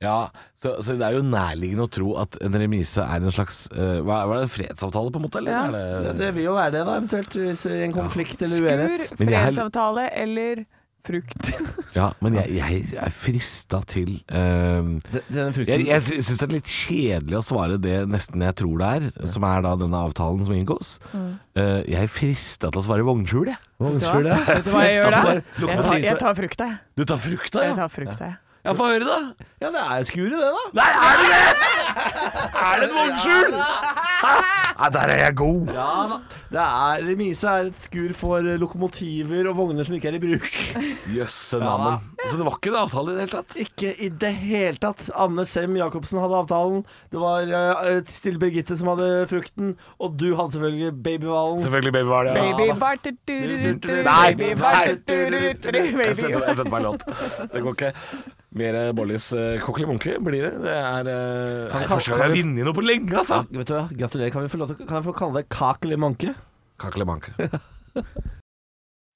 [SPEAKER 5] Ja, så, så det er jo nærliggende å tro at en remise er en slags eh, hva, hva er det, fredsavtale på en måte? Eller?
[SPEAKER 4] Ja.
[SPEAKER 5] Er
[SPEAKER 3] Det,
[SPEAKER 5] det,
[SPEAKER 3] det vil jo være det, da, eventuelt. Hvis i en konflikt eller
[SPEAKER 4] Skur,
[SPEAKER 3] uenighet.
[SPEAKER 5] Men jeg-
[SPEAKER 4] fredsavtale eller frukt.
[SPEAKER 5] Ja, men jeg, jeg er frista til ehm,
[SPEAKER 3] Den- Denne frukten
[SPEAKER 5] Jeg, jeg sy- syns det er litt kjedelig å svare det nesten jeg tror det er, som er da denne avtalen som inngås.
[SPEAKER 4] Mm.
[SPEAKER 5] Eh, jeg er frista til å svare vognskjul, jeg.
[SPEAKER 3] Unnskyld,
[SPEAKER 4] Vet du hva-
[SPEAKER 3] det.
[SPEAKER 4] Vet du hva jeg gjør da?
[SPEAKER 5] Staffar, lukter
[SPEAKER 4] Jeg tar,
[SPEAKER 5] tise.
[SPEAKER 4] jeg tar frukta, jeg.
[SPEAKER 5] Du tar frukta,
[SPEAKER 4] Jeg
[SPEAKER 5] ja?
[SPEAKER 4] tar frukta, jeg.
[SPEAKER 5] Ja, Få høre, da.
[SPEAKER 3] Ja, det er skuret, det, da.
[SPEAKER 5] Nei, er det det?! Er det et vognskjul?! Nei, der er jeg god.
[SPEAKER 3] Ja da. Det er remise er et skur for eh, lokomotiver og vogner som ikke er i bruk.
[SPEAKER 5] Jøsse
[SPEAKER 3] navnet.
[SPEAKER 5] navnet. Så det var ikke en avtale i det hele tatt?
[SPEAKER 3] Ikke i det hele tatt. Anne Sem Jacobsen hadde avtalen. Det var eh, Stille Birgitte som hadde frukten. Og du hadde selvfølgelig babyhvalen.
[SPEAKER 5] Selvfølgelig Baby var det. ja.
[SPEAKER 4] Baby barter tururuturu,
[SPEAKER 5] Nei,
[SPEAKER 4] baby
[SPEAKER 5] nei.
[SPEAKER 4] barter tururuturu,
[SPEAKER 5] Jeg
[SPEAKER 4] baby
[SPEAKER 5] setter, jeg setter meg i låt. Det går ikke. Mer eh, Bollies eh, kokkelimonke blir det. Det er eh, nei,
[SPEAKER 3] kan-
[SPEAKER 5] første
[SPEAKER 3] kan
[SPEAKER 5] gang jeg har
[SPEAKER 3] vi-
[SPEAKER 5] vunnet noe på lenge, altså.
[SPEAKER 3] Vet du hva, Gratulerer. Kan, vi få lov til, kan jeg få kalle deg Kakel i manke?
[SPEAKER 5] Kakelimanke.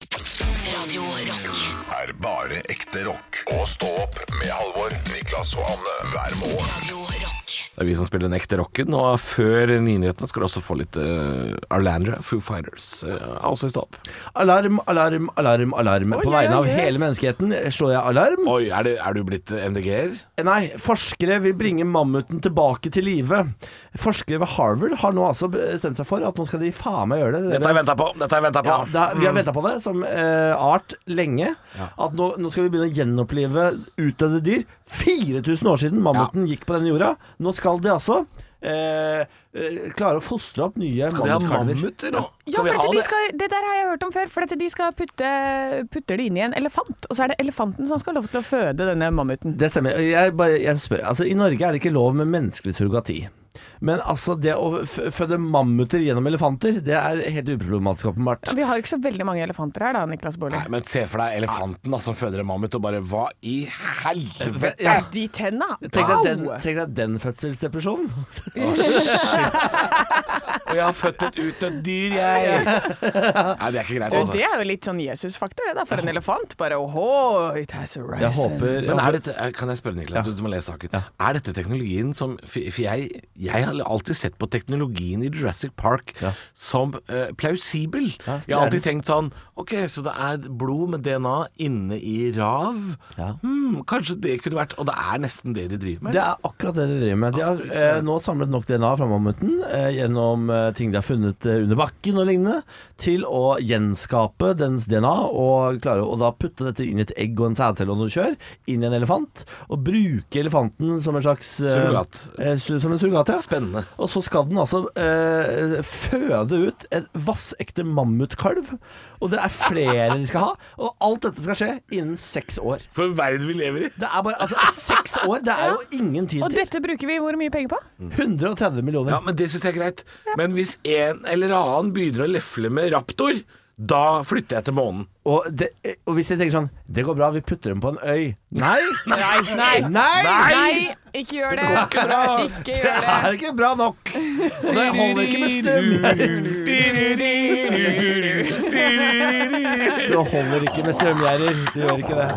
[SPEAKER 10] Radio Rock.
[SPEAKER 2] er bare ekte rock. Og stå opp med Halvor, Niklas og Anne hver morgen.
[SPEAKER 10] Radio Rock.
[SPEAKER 5] Det er vi som spiller den ekte rocken, og før nyhetene skal du også få litt uh, Arlandra, Foo Fighters, eh, er også i stopp.
[SPEAKER 3] Alarm, alarm, alarm, alarm.
[SPEAKER 4] Oi,
[SPEAKER 3] På
[SPEAKER 4] oi,
[SPEAKER 3] vegne av
[SPEAKER 4] oi.
[SPEAKER 3] hele menneskeheten slår jeg alarm.
[SPEAKER 5] Oi, er, det, er du blitt eh, MDG-er?
[SPEAKER 3] Nei, forskere vil bringe mammuten tilbake til live. Forskere ved Harvard har nå altså bestemt seg for at nå skal de faen meg gjøre det.
[SPEAKER 5] Dette har jeg venta på! Dette har jeg ventet på.
[SPEAKER 3] Ja, det er,
[SPEAKER 5] Mm.
[SPEAKER 3] vi har venta på det som eh, art lenge. At nå, nå skal vi begynne å gjenopplive utdødde dyr. 4000 år siden mammuten gikk på denne jorda. Nå skal de altså eh, eh, klare å fostre opp nye
[SPEAKER 5] Skal vi ha
[SPEAKER 3] mammutkalver.
[SPEAKER 5] mammuter nå?
[SPEAKER 4] Ja, for at de skal, det der har jeg hørt om før. For at de skal putte putter det inn i en elefant. Og så er det elefanten som skal ha lov til å føde denne mammuten.
[SPEAKER 3] Det stemmer. Jeg, bare, jeg spør, altså, I Norge er det ikke lov med menneskelig surrogati. Men altså, det å f føde mammuter gjennom elefanter, det er helt uproblematisk, åpenbart.
[SPEAKER 4] Vi har ikke så veldig mange elefanter her da, Niklas Baarli.
[SPEAKER 5] Nei, men se for deg elefanten da, som føder en mammut, og bare hva i helvete?
[SPEAKER 3] Ja.
[SPEAKER 4] De tenna!
[SPEAKER 3] Tenk deg den,
[SPEAKER 4] Au!
[SPEAKER 3] tenk deg den fødselsdepresjonen.
[SPEAKER 5] Og jeg har født et utdødd dyr, jeg! Nei, det er ikke greit,
[SPEAKER 4] Du,
[SPEAKER 5] altså.
[SPEAKER 4] det er jo litt sånn Jesus-faktor, det da, for en elefant. Bare åhå, it has arisen.
[SPEAKER 3] Jeg håper
[SPEAKER 5] Men er dette, er- kan jeg spørre Niklas, du som har lest saken. Er dette teknologien som For for jeg, jeg har alltid sett på teknologien i Jurassic Park
[SPEAKER 3] Ja.
[SPEAKER 5] som eh, plausibel. jeg har alltid tenkt sånn Ok, så det er blod med DNA inne i rav.
[SPEAKER 3] Ja.
[SPEAKER 5] Hmm, kanskje det kunne vært Og det er nesten det de driver med.
[SPEAKER 3] Det er akkurat det de driver med. De har eh, nå samlet nok DNA fra mammuten eh, gjennom eh, ting de har funnet eh, under bakken og lignende, til å gjenskape dens DNA og klare å da putte dette inn i et egg og en sædcelle og noe kjør, inn i en elefant, og bruke elefanten som en slags eh,
[SPEAKER 5] Surrogat.
[SPEAKER 3] Eh, su som en surrogat, ja.
[SPEAKER 5] Spennende.
[SPEAKER 3] Og så skal den altså eh, føde ut en vassekte mammutkalv, og det er flere de skal ha, og alt dette skal skje innen seks år.
[SPEAKER 5] For en verden vi lever i.
[SPEAKER 3] Det er bare, altså, seks år, det er jo ingen tid
[SPEAKER 4] Og
[SPEAKER 3] til.
[SPEAKER 4] dette bruker vi hvor mye penger på?
[SPEAKER 3] 130 millioner.
[SPEAKER 5] Ja, men det syns jeg er greit. Men hvis en eller annen begynner å lefle med raptor, da flytter jeg til månen.
[SPEAKER 3] Og, det, og hvis de tenker sånn Det går bra, vi putter dem på en øy. Nei!
[SPEAKER 4] Nei, nei,
[SPEAKER 3] Nei!
[SPEAKER 4] ikke gjør det.
[SPEAKER 5] ikke bra.
[SPEAKER 4] Ikke
[SPEAKER 3] Det
[SPEAKER 4] gjør det.
[SPEAKER 3] er ikke bra nok! Og det holder ikke med strømgjerder. Det holder ikke med strømgjerder. Det gjør ikke det.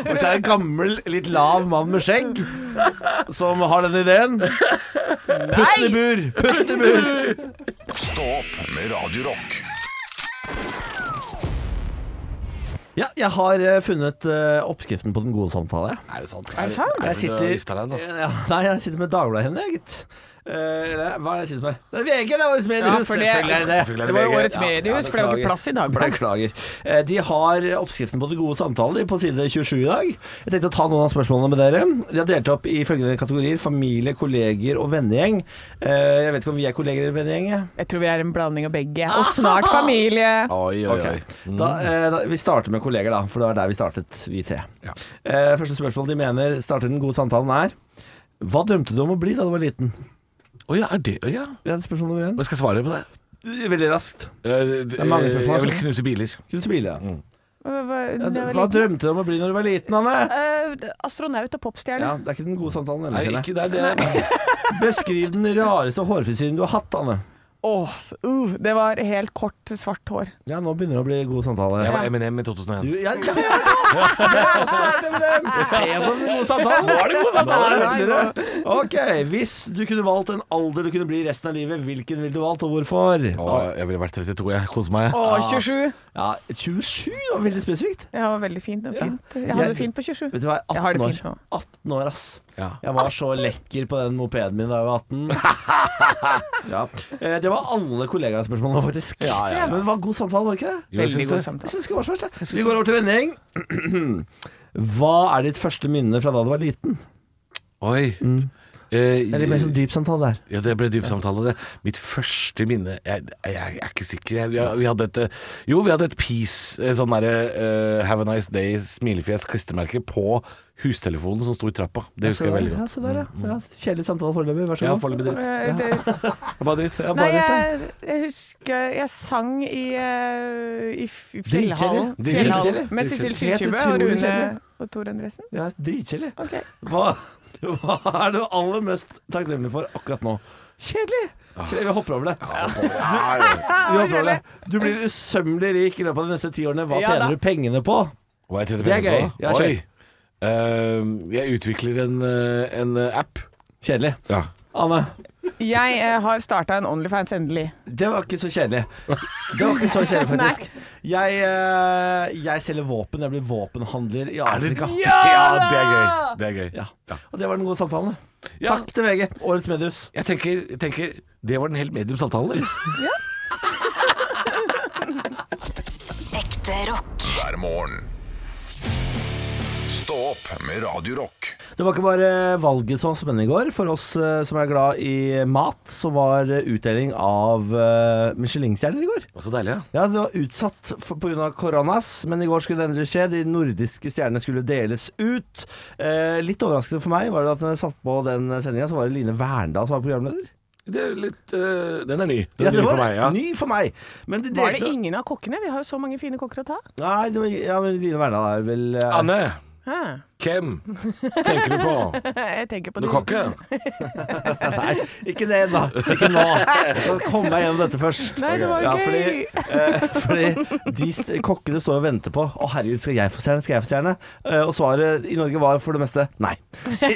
[SPEAKER 3] Og hvis det er en gammel, litt lav mann med skjegg som har den ideen Putt den i bur! Putt den i bur!
[SPEAKER 2] Stå opp med Radio Rock.
[SPEAKER 3] Ja, jeg har eh, funnet eh, oppskriften på den gode samtale. jeg.
[SPEAKER 5] Er det sant?
[SPEAKER 4] det sant?
[SPEAKER 5] Er det,
[SPEAKER 3] Jeg
[SPEAKER 5] fordi du
[SPEAKER 3] sitter,
[SPEAKER 5] har gifta deg, da?
[SPEAKER 4] Eh,
[SPEAKER 3] Ja, nei, jeg sitter med Dagbladet-henne, gitt. Eh, Eller hva er det jeg sitter med? Det er VG, det var jo
[SPEAKER 4] Ja,
[SPEAKER 3] mediehus!
[SPEAKER 4] for det-
[SPEAKER 3] Selvfølgelig er det det.
[SPEAKER 5] Selvfølgelig er
[SPEAKER 4] Det var jo
[SPEAKER 5] VG.
[SPEAKER 4] årets
[SPEAKER 5] Ja, ja,
[SPEAKER 4] mediehus, for det var
[SPEAKER 3] beklager.
[SPEAKER 4] ikke plass i Dagbladet.
[SPEAKER 3] Beklager. Eh, De har oppskriften på de gode samtaler på side 27 i dag. Jeg tenkte å ta noen av spørsmålene med dere. De har delt opp i følgende kategorier familie, kolleger og vennegjeng. Eh, Jeg vet ikke om vi er kolleger eller vennegjeng. jeg.
[SPEAKER 4] Jeg tror vi er en blanding av begge. Og snart familie.
[SPEAKER 5] Oi, oi, oi.
[SPEAKER 3] Da, eh, da, vi starter med kolleger, da, for det var der vi startet, vi tre.
[SPEAKER 5] Ja.
[SPEAKER 3] Eh, Første spørsmål de mener starter den gode samtalen er Hva drømte du om å bli da du var liten?
[SPEAKER 5] Mm. Å ja, er det å ja.
[SPEAKER 3] Det er spørsmål nummer én.
[SPEAKER 5] Hva skal jeg svare på det?
[SPEAKER 3] Veldig raskt. Mm.
[SPEAKER 5] Det
[SPEAKER 3] er mange spørsmål,
[SPEAKER 5] Eh, Jeg vil
[SPEAKER 3] altså.
[SPEAKER 5] knuse biler.
[SPEAKER 3] Kunne smile. ja.
[SPEAKER 4] Hva- hva-
[SPEAKER 3] Ja,
[SPEAKER 4] det var
[SPEAKER 3] Hva
[SPEAKER 4] liten.
[SPEAKER 3] drømte du om å bli når du var liten, Anne?
[SPEAKER 4] Eh, astronaut og popstjerne.
[SPEAKER 3] Ja, Det er ikke den gode samtalen.
[SPEAKER 5] Nei,
[SPEAKER 3] ellers,
[SPEAKER 5] ikke det. det er,
[SPEAKER 3] Anne. Beskriv den rareste hårfrisyren du har hatt, Anne.
[SPEAKER 4] Åh, uh, det var helt kort, svart hår.
[SPEAKER 3] Ja, nå begynner det å bli god samtale.
[SPEAKER 5] jeg var Eminem i
[SPEAKER 3] Du,
[SPEAKER 5] 2001.
[SPEAKER 3] ja, ja, ja, ja. Se på den gode samtalen! Nå er det god
[SPEAKER 4] Nei, nå-
[SPEAKER 3] Ok, Hvis du kunne valgt en alder du kunne bli resten av livet, hvilken ville du valgt, og hvorfor?
[SPEAKER 5] Å, jeg ville vært 32, jeg. Koser meg.
[SPEAKER 4] Å,
[SPEAKER 3] Ah.
[SPEAKER 4] 27.
[SPEAKER 3] Ja, 27 var veldig spesifikt.
[SPEAKER 4] Ja, veldig fint. Det var fint. Jeg hadde det fint på 27.
[SPEAKER 3] Vet du hva,
[SPEAKER 4] Jeg har
[SPEAKER 3] 18
[SPEAKER 4] det
[SPEAKER 3] år.
[SPEAKER 4] fint nå.
[SPEAKER 3] 18 år, ass.
[SPEAKER 5] Ja.
[SPEAKER 3] Jeg var så lekker på den mopeden min da jeg var 18. ja. Eh, Det var alle kollegaspørsmålene, faktisk.
[SPEAKER 5] ja, ja.
[SPEAKER 3] Men det var god samtale, var det ikke det?
[SPEAKER 5] Jo, jeg
[SPEAKER 4] Veldig
[SPEAKER 5] syns
[SPEAKER 4] god
[SPEAKER 5] det.
[SPEAKER 3] Jeg
[SPEAKER 4] samtale.
[SPEAKER 3] synes ikke det var så verst. jeg. Vi går over til vending. Hva er ditt første minne fra da du var liten?
[SPEAKER 5] Oi.
[SPEAKER 3] Mm.
[SPEAKER 5] Eh,
[SPEAKER 3] Eller mer som dyp samtale der.
[SPEAKER 5] Ja, det ble dypsamtale, det. Mitt første minne Jeg, jeg, jeg er ikke sikker. Jeg, vi, vi hadde et eh, Jo, vi hadde et peace, eh, sånn derre eh, Have a nice day, smilefjes, klistremerke på hustelefonen som sto i trappa. Det husker jeg veldig
[SPEAKER 3] Ja,
[SPEAKER 5] godt.
[SPEAKER 3] se der, ja. ja. Kjedelig samtale Mm, foreløpig. Vær så
[SPEAKER 5] Ja,
[SPEAKER 3] god.
[SPEAKER 5] foreløpig dritt.
[SPEAKER 4] Eh, det-
[SPEAKER 5] Det var dritt.
[SPEAKER 3] Ja,
[SPEAKER 4] Nei,
[SPEAKER 3] bare litt,
[SPEAKER 4] jeg, jeg husker Jeg sang i, eh, i f- i
[SPEAKER 3] Dritkjedelig.
[SPEAKER 4] Fjellhallen.
[SPEAKER 3] Dritkjedelig.
[SPEAKER 4] Fjellhallen Med Sissel
[SPEAKER 5] Dritkjedelig.
[SPEAKER 4] Kyrkjebø
[SPEAKER 3] Helt
[SPEAKER 4] og
[SPEAKER 3] utrolig
[SPEAKER 4] Rune
[SPEAKER 3] kjedelig.
[SPEAKER 4] og Tor Endresen.
[SPEAKER 3] ja. ja Dritkjedelig.
[SPEAKER 4] Ok.
[SPEAKER 3] Hva, hva er du aller mest takknemlig for akkurat nå? Kjedelig! Kjedelig, Vi hopper over det. Vi hopper over det. Du blir usømmelig rik i løpet av de neste ti årene. Hva
[SPEAKER 4] Ja da.
[SPEAKER 3] tjener du pengene på?
[SPEAKER 5] Hva heter
[SPEAKER 3] Det er
[SPEAKER 5] penger
[SPEAKER 3] gøy.
[SPEAKER 5] på?
[SPEAKER 3] Ja, kjør.
[SPEAKER 5] Oi. Eh, jeg utvikler en, eh, en eh, app.
[SPEAKER 3] Kjedelig.
[SPEAKER 5] Ja.
[SPEAKER 3] Anne,
[SPEAKER 4] Jeg eh, har starta en Onlyfans endelig.
[SPEAKER 3] det var ikke så kjedelig. Det var ikke så kjedelig, faktisk. Jeg, eh, jeg selger våpen. Jeg blir våpenhandler i Afrika.
[SPEAKER 5] ja, det er gøy. Det er gøy.
[SPEAKER 3] Ja. Og det var den gode samtalen. det.
[SPEAKER 5] Ja.
[SPEAKER 3] Takk til VG. Årets medius.
[SPEAKER 5] Jeg tenker, tenker Det var den helt medium samtalen, eller?
[SPEAKER 10] Ekte rock.
[SPEAKER 2] hver morgen. Stå opp med Radio Rock.
[SPEAKER 3] Det var ikke bare valget som var spennende i går. For oss eh, som er glad i mat, så var eh, utdeling av eh, Michelin-stjerner i går.
[SPEAKER 5] Å, Så deilig, ja.
[SPEAKER 3] Ja, det var utsatt pga. koronas, men i går skulle det endelig skje. De nordiske stjernene skulle deles ut. Eh, litt overraskende for meg var det at når jeg satt på den sendinga, så var det Line Verndal som var programleder.
[SPEAKER 5] Det er litt, eh, den er ny. Den
[SPEAKER 3] Ja,
[SPEAKER 5] er ny
[SPEAKER 3] det var
[SPEAKER 5] for meg. Ja.
[SPEAKER 3] ny for meg. Men de
[SPEAKER 4] Var det
[SPEAKER 3] delte-
[SPEAKER 4] ingen av kokkene? Vi har jo så mange fine kokker å ta.
[SPEAKER 3] Nei, det var, ja, men Line Verndal er vel eh,
[SPEAKER 5] Anne,
[SPEAKER 4] Hæ?
[SPEAKER 5] hvem tenker du på?
[SPEAKER 4] Jeg tenker på
[SPEAKER 5] Du
[SPEAKER 4] de-
[SPEAKER 5] kan ikke?
[SPEAKER 3] Nei, ikke det da. Ikke nå. Jeg skal komme meg gjennom dette først.
[SPEAKER 4] Nei, det var
[SPEAKER 3] Ja,
[SPEAKER 4] gøy.
[SPEAKER 3] fordi, eh, fordi de st kokkene står og venter på Å herregud, skal jeg få stjerne, skal jeg få stjerne? Eh, og svaret i Norge var for det meste nei. I,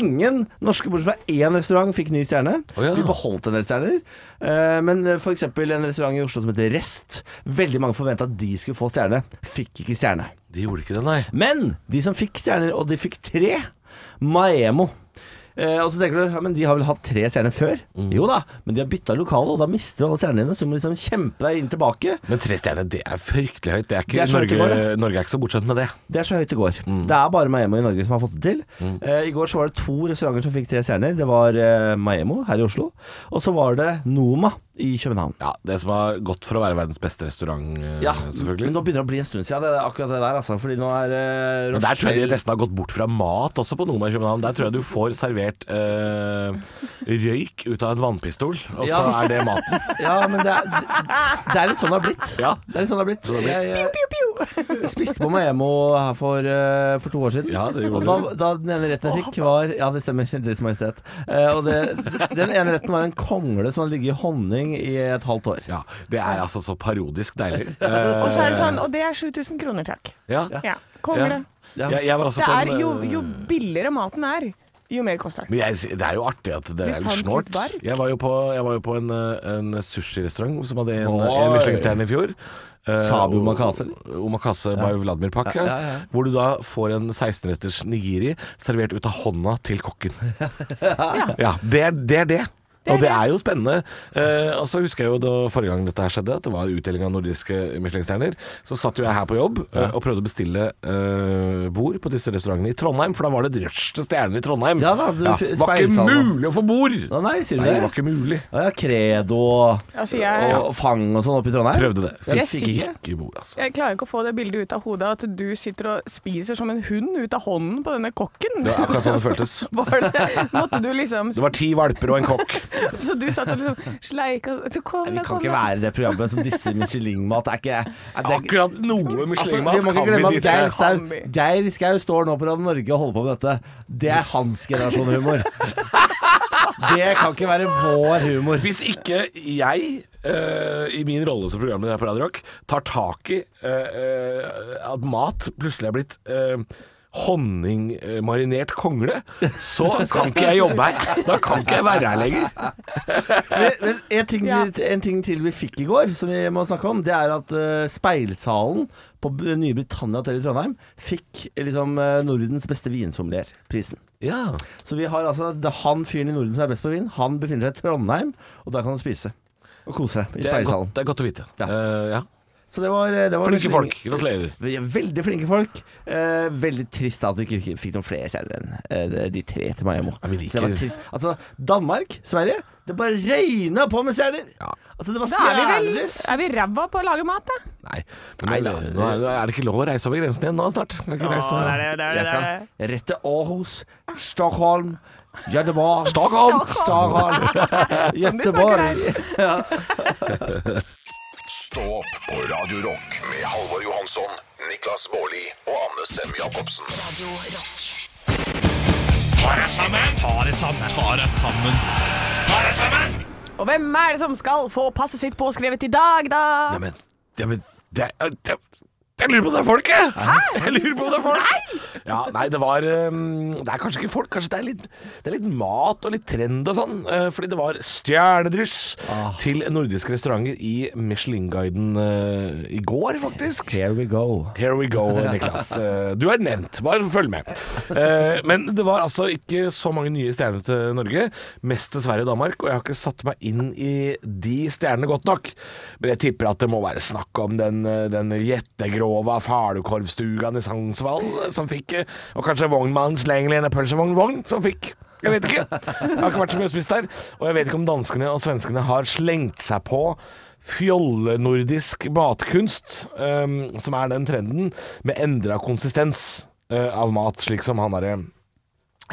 [SPEAKER 3] ingen norske, bortsett fra én restaurant, fikk ny stjerne.
[SPEAKER 5] Å, ja.
[SPEAKER 3] Vi beholdt en del stjerner. Eh, men eh, for eksempel en restaurant i Oslo som heter Rest. Veldig mange forventa at de skulle få stjerne. Fikk ikke stjerne.
[SPEAKER 5] De gjorde ikke det, nei.
[SPEAKER 3] Men de som fikk stjerner, og de fikk tre, Maemo. Eh, og så tenker du ja, men de har vel hatt tre stjerner før?
[SPEAKER 5] Mm.
[SPEAKER 3] Jo da, men de har bytta lokale, og da mister du alle stjernene dine. Så du må liksom kjempe deg inn tilbake.
[SPEAKER 5] Men tre stjerner, det er fryktelig høyt. Det er ikke,
[SPEAKER 3] Det er så høyt det
[SPEAKER 5] Norge,
[SPEAKER 3] går,
[SPEAKER 5] Norge er ikke så bortskjemt med det.
[SPEAKER 3] Det er så høyt det går.
[SPEAKER 5] Mm.
[SPEAKER 3] Det er bare Maemo i Norge som har fått det til. Eh, I går så var det to restauranter som fikk tre stjerner. Det var eh, Maemo her i Oslo, og så var det Noma i København.
[SPEAKER 5] Ja, Det som har gått for å være verdens beste restaurant, eh,
[SPEAKER 3] Ja,
[SPEAKER 5] selvfølgelig.
[SPEAKER 3] men nå begynner det å bli en stund siden, det er akkurat det der, altså. Fordi nå er eh,
[SPEAKER 5] Men der tror jeg de
[SPEAKER 3] Rochelle-
[SPEAKER 5] nesten har gått bort fra mat også på Noma i København. Der tror jeg du får servert eh, røyk ut av en vannpistol, og så
[SPEAKER 3] Ja.
[SPEAKER 5] er det maten.
[SPEAKER 3] Ja, men det er, det, det er litt sånn det har blitt.
[SPEAKER 5] Ja.
[SPEAKER 3] Det er litt sånn det har blitt. Jeg, eh, jeg spiste på Maemo her for, eh, for to år siden.
[SPEAKER 5] Ja, det gjorde
[SPEAKER 3] og da, da den ene retten jeg fikk var Ja, det stemmer. Deres Majestet. Eh, og det, den ene retten var en kongle som hadde ligget i honning i et halvt år.
[SPEAKER 5] Ja, Det er altså så parodisk deilig. Eh,
[SPEAKER 4] Og så er det sånn Og det er 7000 kroner, takk.
[SPEAKER 5] ja.
[SPEAKER 4] Ja.
[SPEAKER 5] Ja.
[SPEAKER 4] Kongle.
[SPEAKER 3] Ja.
[SPEAKER 5] Jeg, jeg var også
[SPEAKER 4] Det
[SPEAKER 5] på
[SPEAKER 4] er
[SPEAKER 5] en,
[SPEAKER 4] jo,
[SPEAKER 5] eh,
[SPEAKER 4] jo billigere maten er, jo mer koster den.
[SPEAKER 5] Men jeg, det er jo artig at det
[SPEAKER 4] Vi
[SPEAKER 5] er litt
[SPEAKER 4] fant
[SPEAKER 5] snålt.
[SPEAKER 4] litt bark.
[SPEAKER 5] Jeg var jo på, jeg var jo på en, eh, en sushirestaurant som hadde en,
[SPEAKER 3] Oi.
[SPEAKER 5] en Michelin-stjerne i fjor. Eh,
[SPEAKER 3] Sabu
[SPEAKER 5] og-
[SPEAKER 3] Omakase, eller?
[SPEAKER 5] Omakase by Vladimir Pak.
[SPEAKER 3] Ja, ja, ja.
[SPEAKER 5] Hvor du da får en 16-retters nigiri servert ut av hånda til kokken. ja. det, er, det er det. og det er jo spennende. Eh, og så husker jeg jo da forrige gang dette her skjedde, at det var utdeling av nordiske Michelin-stjerner. Så satt jo jeg her på jobb eh, og prøvde å bestille eh, bord på disse restaurantene i Trondheim, for da var det rush til stjernene i Trondheim.
[SPEAKER 3] Ja da, du f-
[SPEAKER 5] Var ikke
[SPEAKER 3] speilsal, da.
[SPEAKER 5] mulig å få bord!
[SPEAKER 3] Å, nei, sier du
[SPEAKER 5] Nei, det
[SPEAKER 3] det?
[SPEAKER 5] var ikke mulig.
[SPEAKER 3] Ja, ja, Credo og,
[SPEAKER 4] Altså, jeg,
[SPEAKER 3] og Fang og sånn oppe i Trondheim.
[SPEAKER 5] Prøvde det.
[SPEAKER 3] Ja,
[SPEAKER 4] Jeg
[SPEAKER 5] Fikk
[SPEAKER 4] sier-
[SPEAKER 5] ikke bord, altså.
[SPEAKER 4] jeg klarer ikke å få det bildet ut av hodet at du sitter og spiser som en hund ut av hånden på denne kokken.
[SPEAKER 5] Det var akkurat sånn det føltes.
[SPEAKER 4] Var det, måtte du liksom
[SPEAKER 5] Det var ti valper og en kokk.
[SPEAKER 4] Så du satt og liksom sleika så kom,
[SPEAKER 3] Vi
[SPEAKER 4] jeg,
[SPEAKER 3] kan
[SPEAKER 4] kom,
[SPEAKER 3] ikke
[SPEAKER 4] jeg.
[SPEAKER 3] være det programmet som disse Michelin-mat. Det er ikke er det-
[SPEAKER 5] Akkurat noe
[SPEAKER 3] Altså, vi må
[SPEAKER 5] Michelin-mat
[SPEAKER 3] ikke glemme at Geir
[SPEAKER 4] disse-
[SPEAKER 3] Skau, Geir Skau står nå på Radio Norge og holder på med dette. Det er hans generasjon humor. Det kan ikke være vår humor.
[SPEAKER 5] Hvis ikke jeg eh, eh, i min rolle som programleder her på Radio Rock tar tak i eh, eh, at mat plutselig er blitt eh, Honningmarinert kongle, så kan ikke jeg jobbe her. Da kan ikke jeg være her lenger.
[SPEAKER 3] Men, men en, ting,
[SPEAKER 4] Ja.
[SPEAKER 3] vi- en ting til vi fikk i går, som vi må snakke om, det er at eh, Speilsalen på B- Nye Britannia Hotel i Trondheim fikk eh, liksom eh, Nordens beste vinsommelierprisen.
[SPEAKER 5] Ja.
[SPEAKER 3] Så vi har altså det er han fyren i Norden som er best på vin, han befinner seg i Trondheim, og der kan du spise og kose deg i
[SPEAKER 5] Det, er godt,
[SPEAKER 3] Speilsalen.
[SPEAKER 5] det er godt å vite.
[SPEAKER 3] Ja.
[SPEAKER 5] Eh, ja.
[SPEAKER 3] Så det var, det var
[SPEAKER 5] Flinke
[SPEAKER 3] veldig-
[SPEAKER 5] folk. Gratulerer.
[SPEAKER 3] Vi er Veldig flinke folk. Eh, veldig trist da at vi ikke fikk noen flere stjerner enn eh, de tre til Maimo.
[SPEAKER 5] Ja, vi liker-
[SPEAKER 3] Så det var trist. Altså, Danmark, Sverige, det bare regna på med stjerner!
[SPEAKER 5] Ja.
[SPEAKER 3] Altså, det var
[SPEAKER 4] Da er vi vel
[SPEAKER 3] stjernelys!
[SPEAKER 4] Er vi ræva på å lage mat, da?
[SPEAKER 5] Nei, men nå, nå er- nå er det ikke lov å reise over grensen igjen nå snart. Kan ikke reise-
[SPEAKER 3] Jeg skal rett til Århus, Stockholm, Göteborg
[SPEAKER 5] Stockholm!
[SPEAKER 3] Stockholm. Göteborg.
[SPEAKER 2] Stå opp på Radio Rock med Halvor Johansson, Niklas Baarli og Anne Sem Jacobsen.
[SPEAKER 10] Radio Rock.
[SPEAKER 4] Og hvem er det som skal få passet sitt påskrevet i dag, da?
[SPEAKER 5] Neimen, det, men, det, det, jeg lurer på om det er folk, jeg! Jeg lurer på om det er folk! Nei, ja, nei det var um, Det er kanskje ikke folk, kanskje det er litt, det er litt mat og litt trend og sånn. eh, Fordi det var stjernedryss til nordiske restauranter i Michelin-guiden eh, i går, faktisk.
[SPEAKER 3] Here we go.
[SPEAKER 5] Here we go, Niklas. Eh, Du er nevnt, bare følg med. Eh, Men det var altså ikke så mange nye stjerner til Norge. Mest til Sverige og Danmark, og jeg har ikke satt meg inn i de stjernene godt nok. Men jeg tipper at det må være snakk om den, eh, den jettegrova falukorvstugan i Sognsvall eh, som fikk, eh, og kanskje vognmannens lengelene pølsevognvogn som fikk. Jeg vet ikke. Jeg har ikke vært så mye og spist der. Og jeg vet ikke om danskene og svenskene har slengt seg på fjollenordisk matkunst, ehm, som er den trenden, med endra konsistens eh, av mat, slik som han derre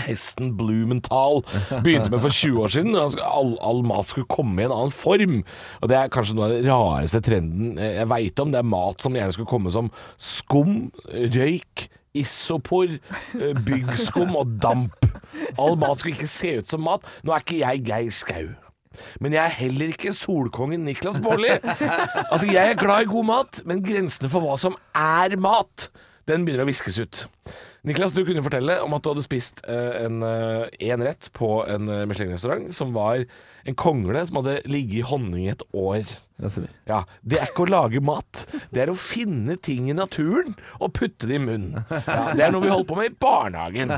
[SPEAKER 5] Hesten Blumenthal begynte med for 20 år siden. Han skal- All, all mat skulle komme i en annen form. Og Det er kanskje noe av den rareste trenden eh, jeg veit om. Det er mat som gjerne skulle komme som skum, røyk, isopor, eh, byggskum og damp. All mat skulle ikke se ut som mat. Nå er ikke jeg Geir Skau. Men jeg er heller ikke solkongen Niklas Baarli. Altså, jeg er glad i god mat, men grensene for hva som er mat, den begynner å viskes ut. Niklas, du kunne fortelle om at du hadde spist eh, en, eh, en rett på en eh, Michelin-restaurant som var en kongle som hadde ligget i honning i et år.
[SPEAKER 3] Det stemmer.
[SPEAKER 5] Ja, Det er ikke å lage mat, det er å finne ting i naturen og putte det i munnen. Ja, det er noe vi holder på med i barnehagen.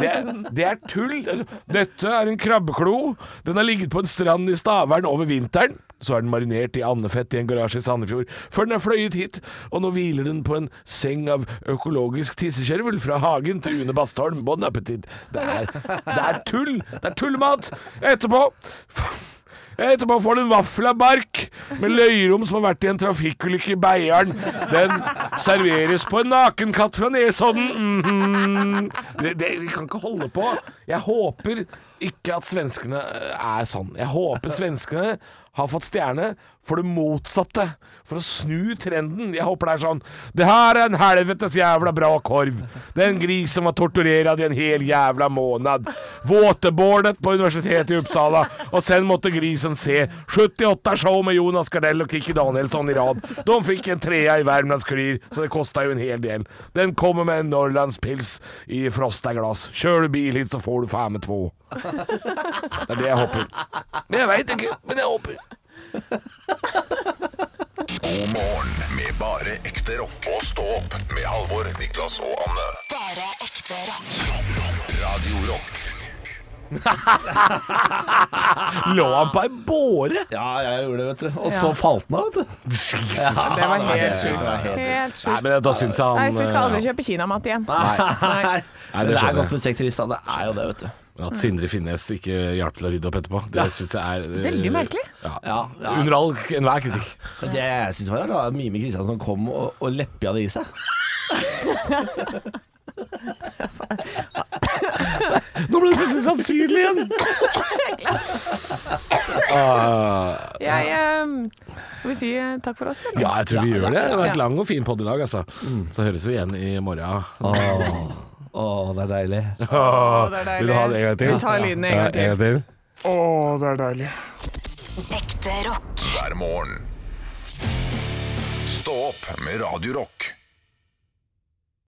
[SPEAKER 5] Det, det er tull. Altså, Dette er en krabbeklo. Den har ligget på en strand i Stavern over vinteren. Så er den marinert i andefett i en garasje i Sandefjord, før den er fløyet hit. Og nå hviler den på en seng av økologisk tissekjervel fra hagen til Une Bastholm. Bon appétit. Det er, det er tull. Det er tullmat. Etterpå Etterpå Eh, får du en vaffel av bark med løyrom som har vært i en trafikkulykke i Beiarn. Den serveres på en nakenkatt fra Nesodden. Mhm. det, det, vi kan ikke holde på. Jeg håper ikke at svenskene eh, er sånn. Jeg håper svenskene har fått stjerne for det motsatte. For å snu trenden. Jeg håper det er sånn Det her er en helvetes jævla bra korv. Det er en gris som var torturert i en hel jævla måned. Våtebårdet på Universitetet i Uppsala. Og sen måtte grisen se 78 show med Jonas Gardell og Kikki Danielsson i rad. De fikk en trea i Värmlands Kurir, så det kosta jo en hel del. Den kommer med en Norrlandspils i frosta glass. Kjører du bil hit, så får du faen meg to. Det er det jeg håper. Men jeg veit ikke. Men jeg håper.
[SPEAKER 2] God morgen med bare ekte rock. Og stå opp med Halvor, Niklas og Anne.
[SPEAKER 10] Bare ekte rock.
[SPEAKER 2] Radio Rock
[SPEAKER 5] Lå han på ei båre?
[SPEAKER 3] Ja, jeg gjorde det, vet du. Og så falt den av, vet du.
[SPEAKER 4] Det var
[SPEAKER 5] Ja,
[SPEAKER 4] helt
[SPEAKER 5] det
[SPEAKER 4] sjukt.
[SPEAKER 5] var helt-
[SPEAKER 4] Helt
[SPEAKER 5] Nei,
[SPEAKER 4] sjukt.
[SPEAKER 5] men da syns jeg han
[SPEAKER 4] Nei, så vi skal aldri
[SPEAKER 5] ja.
[SPEAKER 4] kjøpe kinamat igjen.
[SPEAKER 3] Nei. Men
[SPEAKER 5] Nei, det
[SPEAKER 3] det er
[SPEAKER 5] skjønner
[SPEAKER 3] godt med sektorist, da. Det er jo det, vet du.
[SPEAKER 5] Men eh, At Sindre Finnes ikke hjalp til å rydde opp etterpå, det syns jeg er eh,
[SPEAKER 4] Veldig merkelig.
[SPEAKER 5] Ja.
[SPEAKER 3] Ja, ja.
[SPEAKER 5] Under all enhver kritikk.
[SPEAKER 3] Men Det jeg syns var rart, var Mime Kristiansen som kom og, og leppja det i seg.
[SPEAKER 5] Nå ble det plutselig sannsynlig igjen!
[SPEAKER 4] Jeg, ehm, skal vi si eh, takk for oss, eller?
[SPEAKER 5] Ah, Ja, jeg tror vi gjør det. Det har
[SPEAKER 4] Ja.
[SPEAKER 5] vært lang og fin podd i dag, altså. Så høres vi igjen i morgen.
[SPEAKER 3] Å, det er deilig.
[SPEAKER 4] Å, det er deilig.
[SPEAKER 5] Vil du ha det en gang til?
[SPEAKER 4] Vi tar lyden en gang
[SPEAKER 5] Ja,
[SPEAKER 4] til.
[SPEAKER 5] En gang til.
[SPEAKER 10] Ekte rock.
[SPEAKER 2] hver morgen. Stå opp med Radio Rock.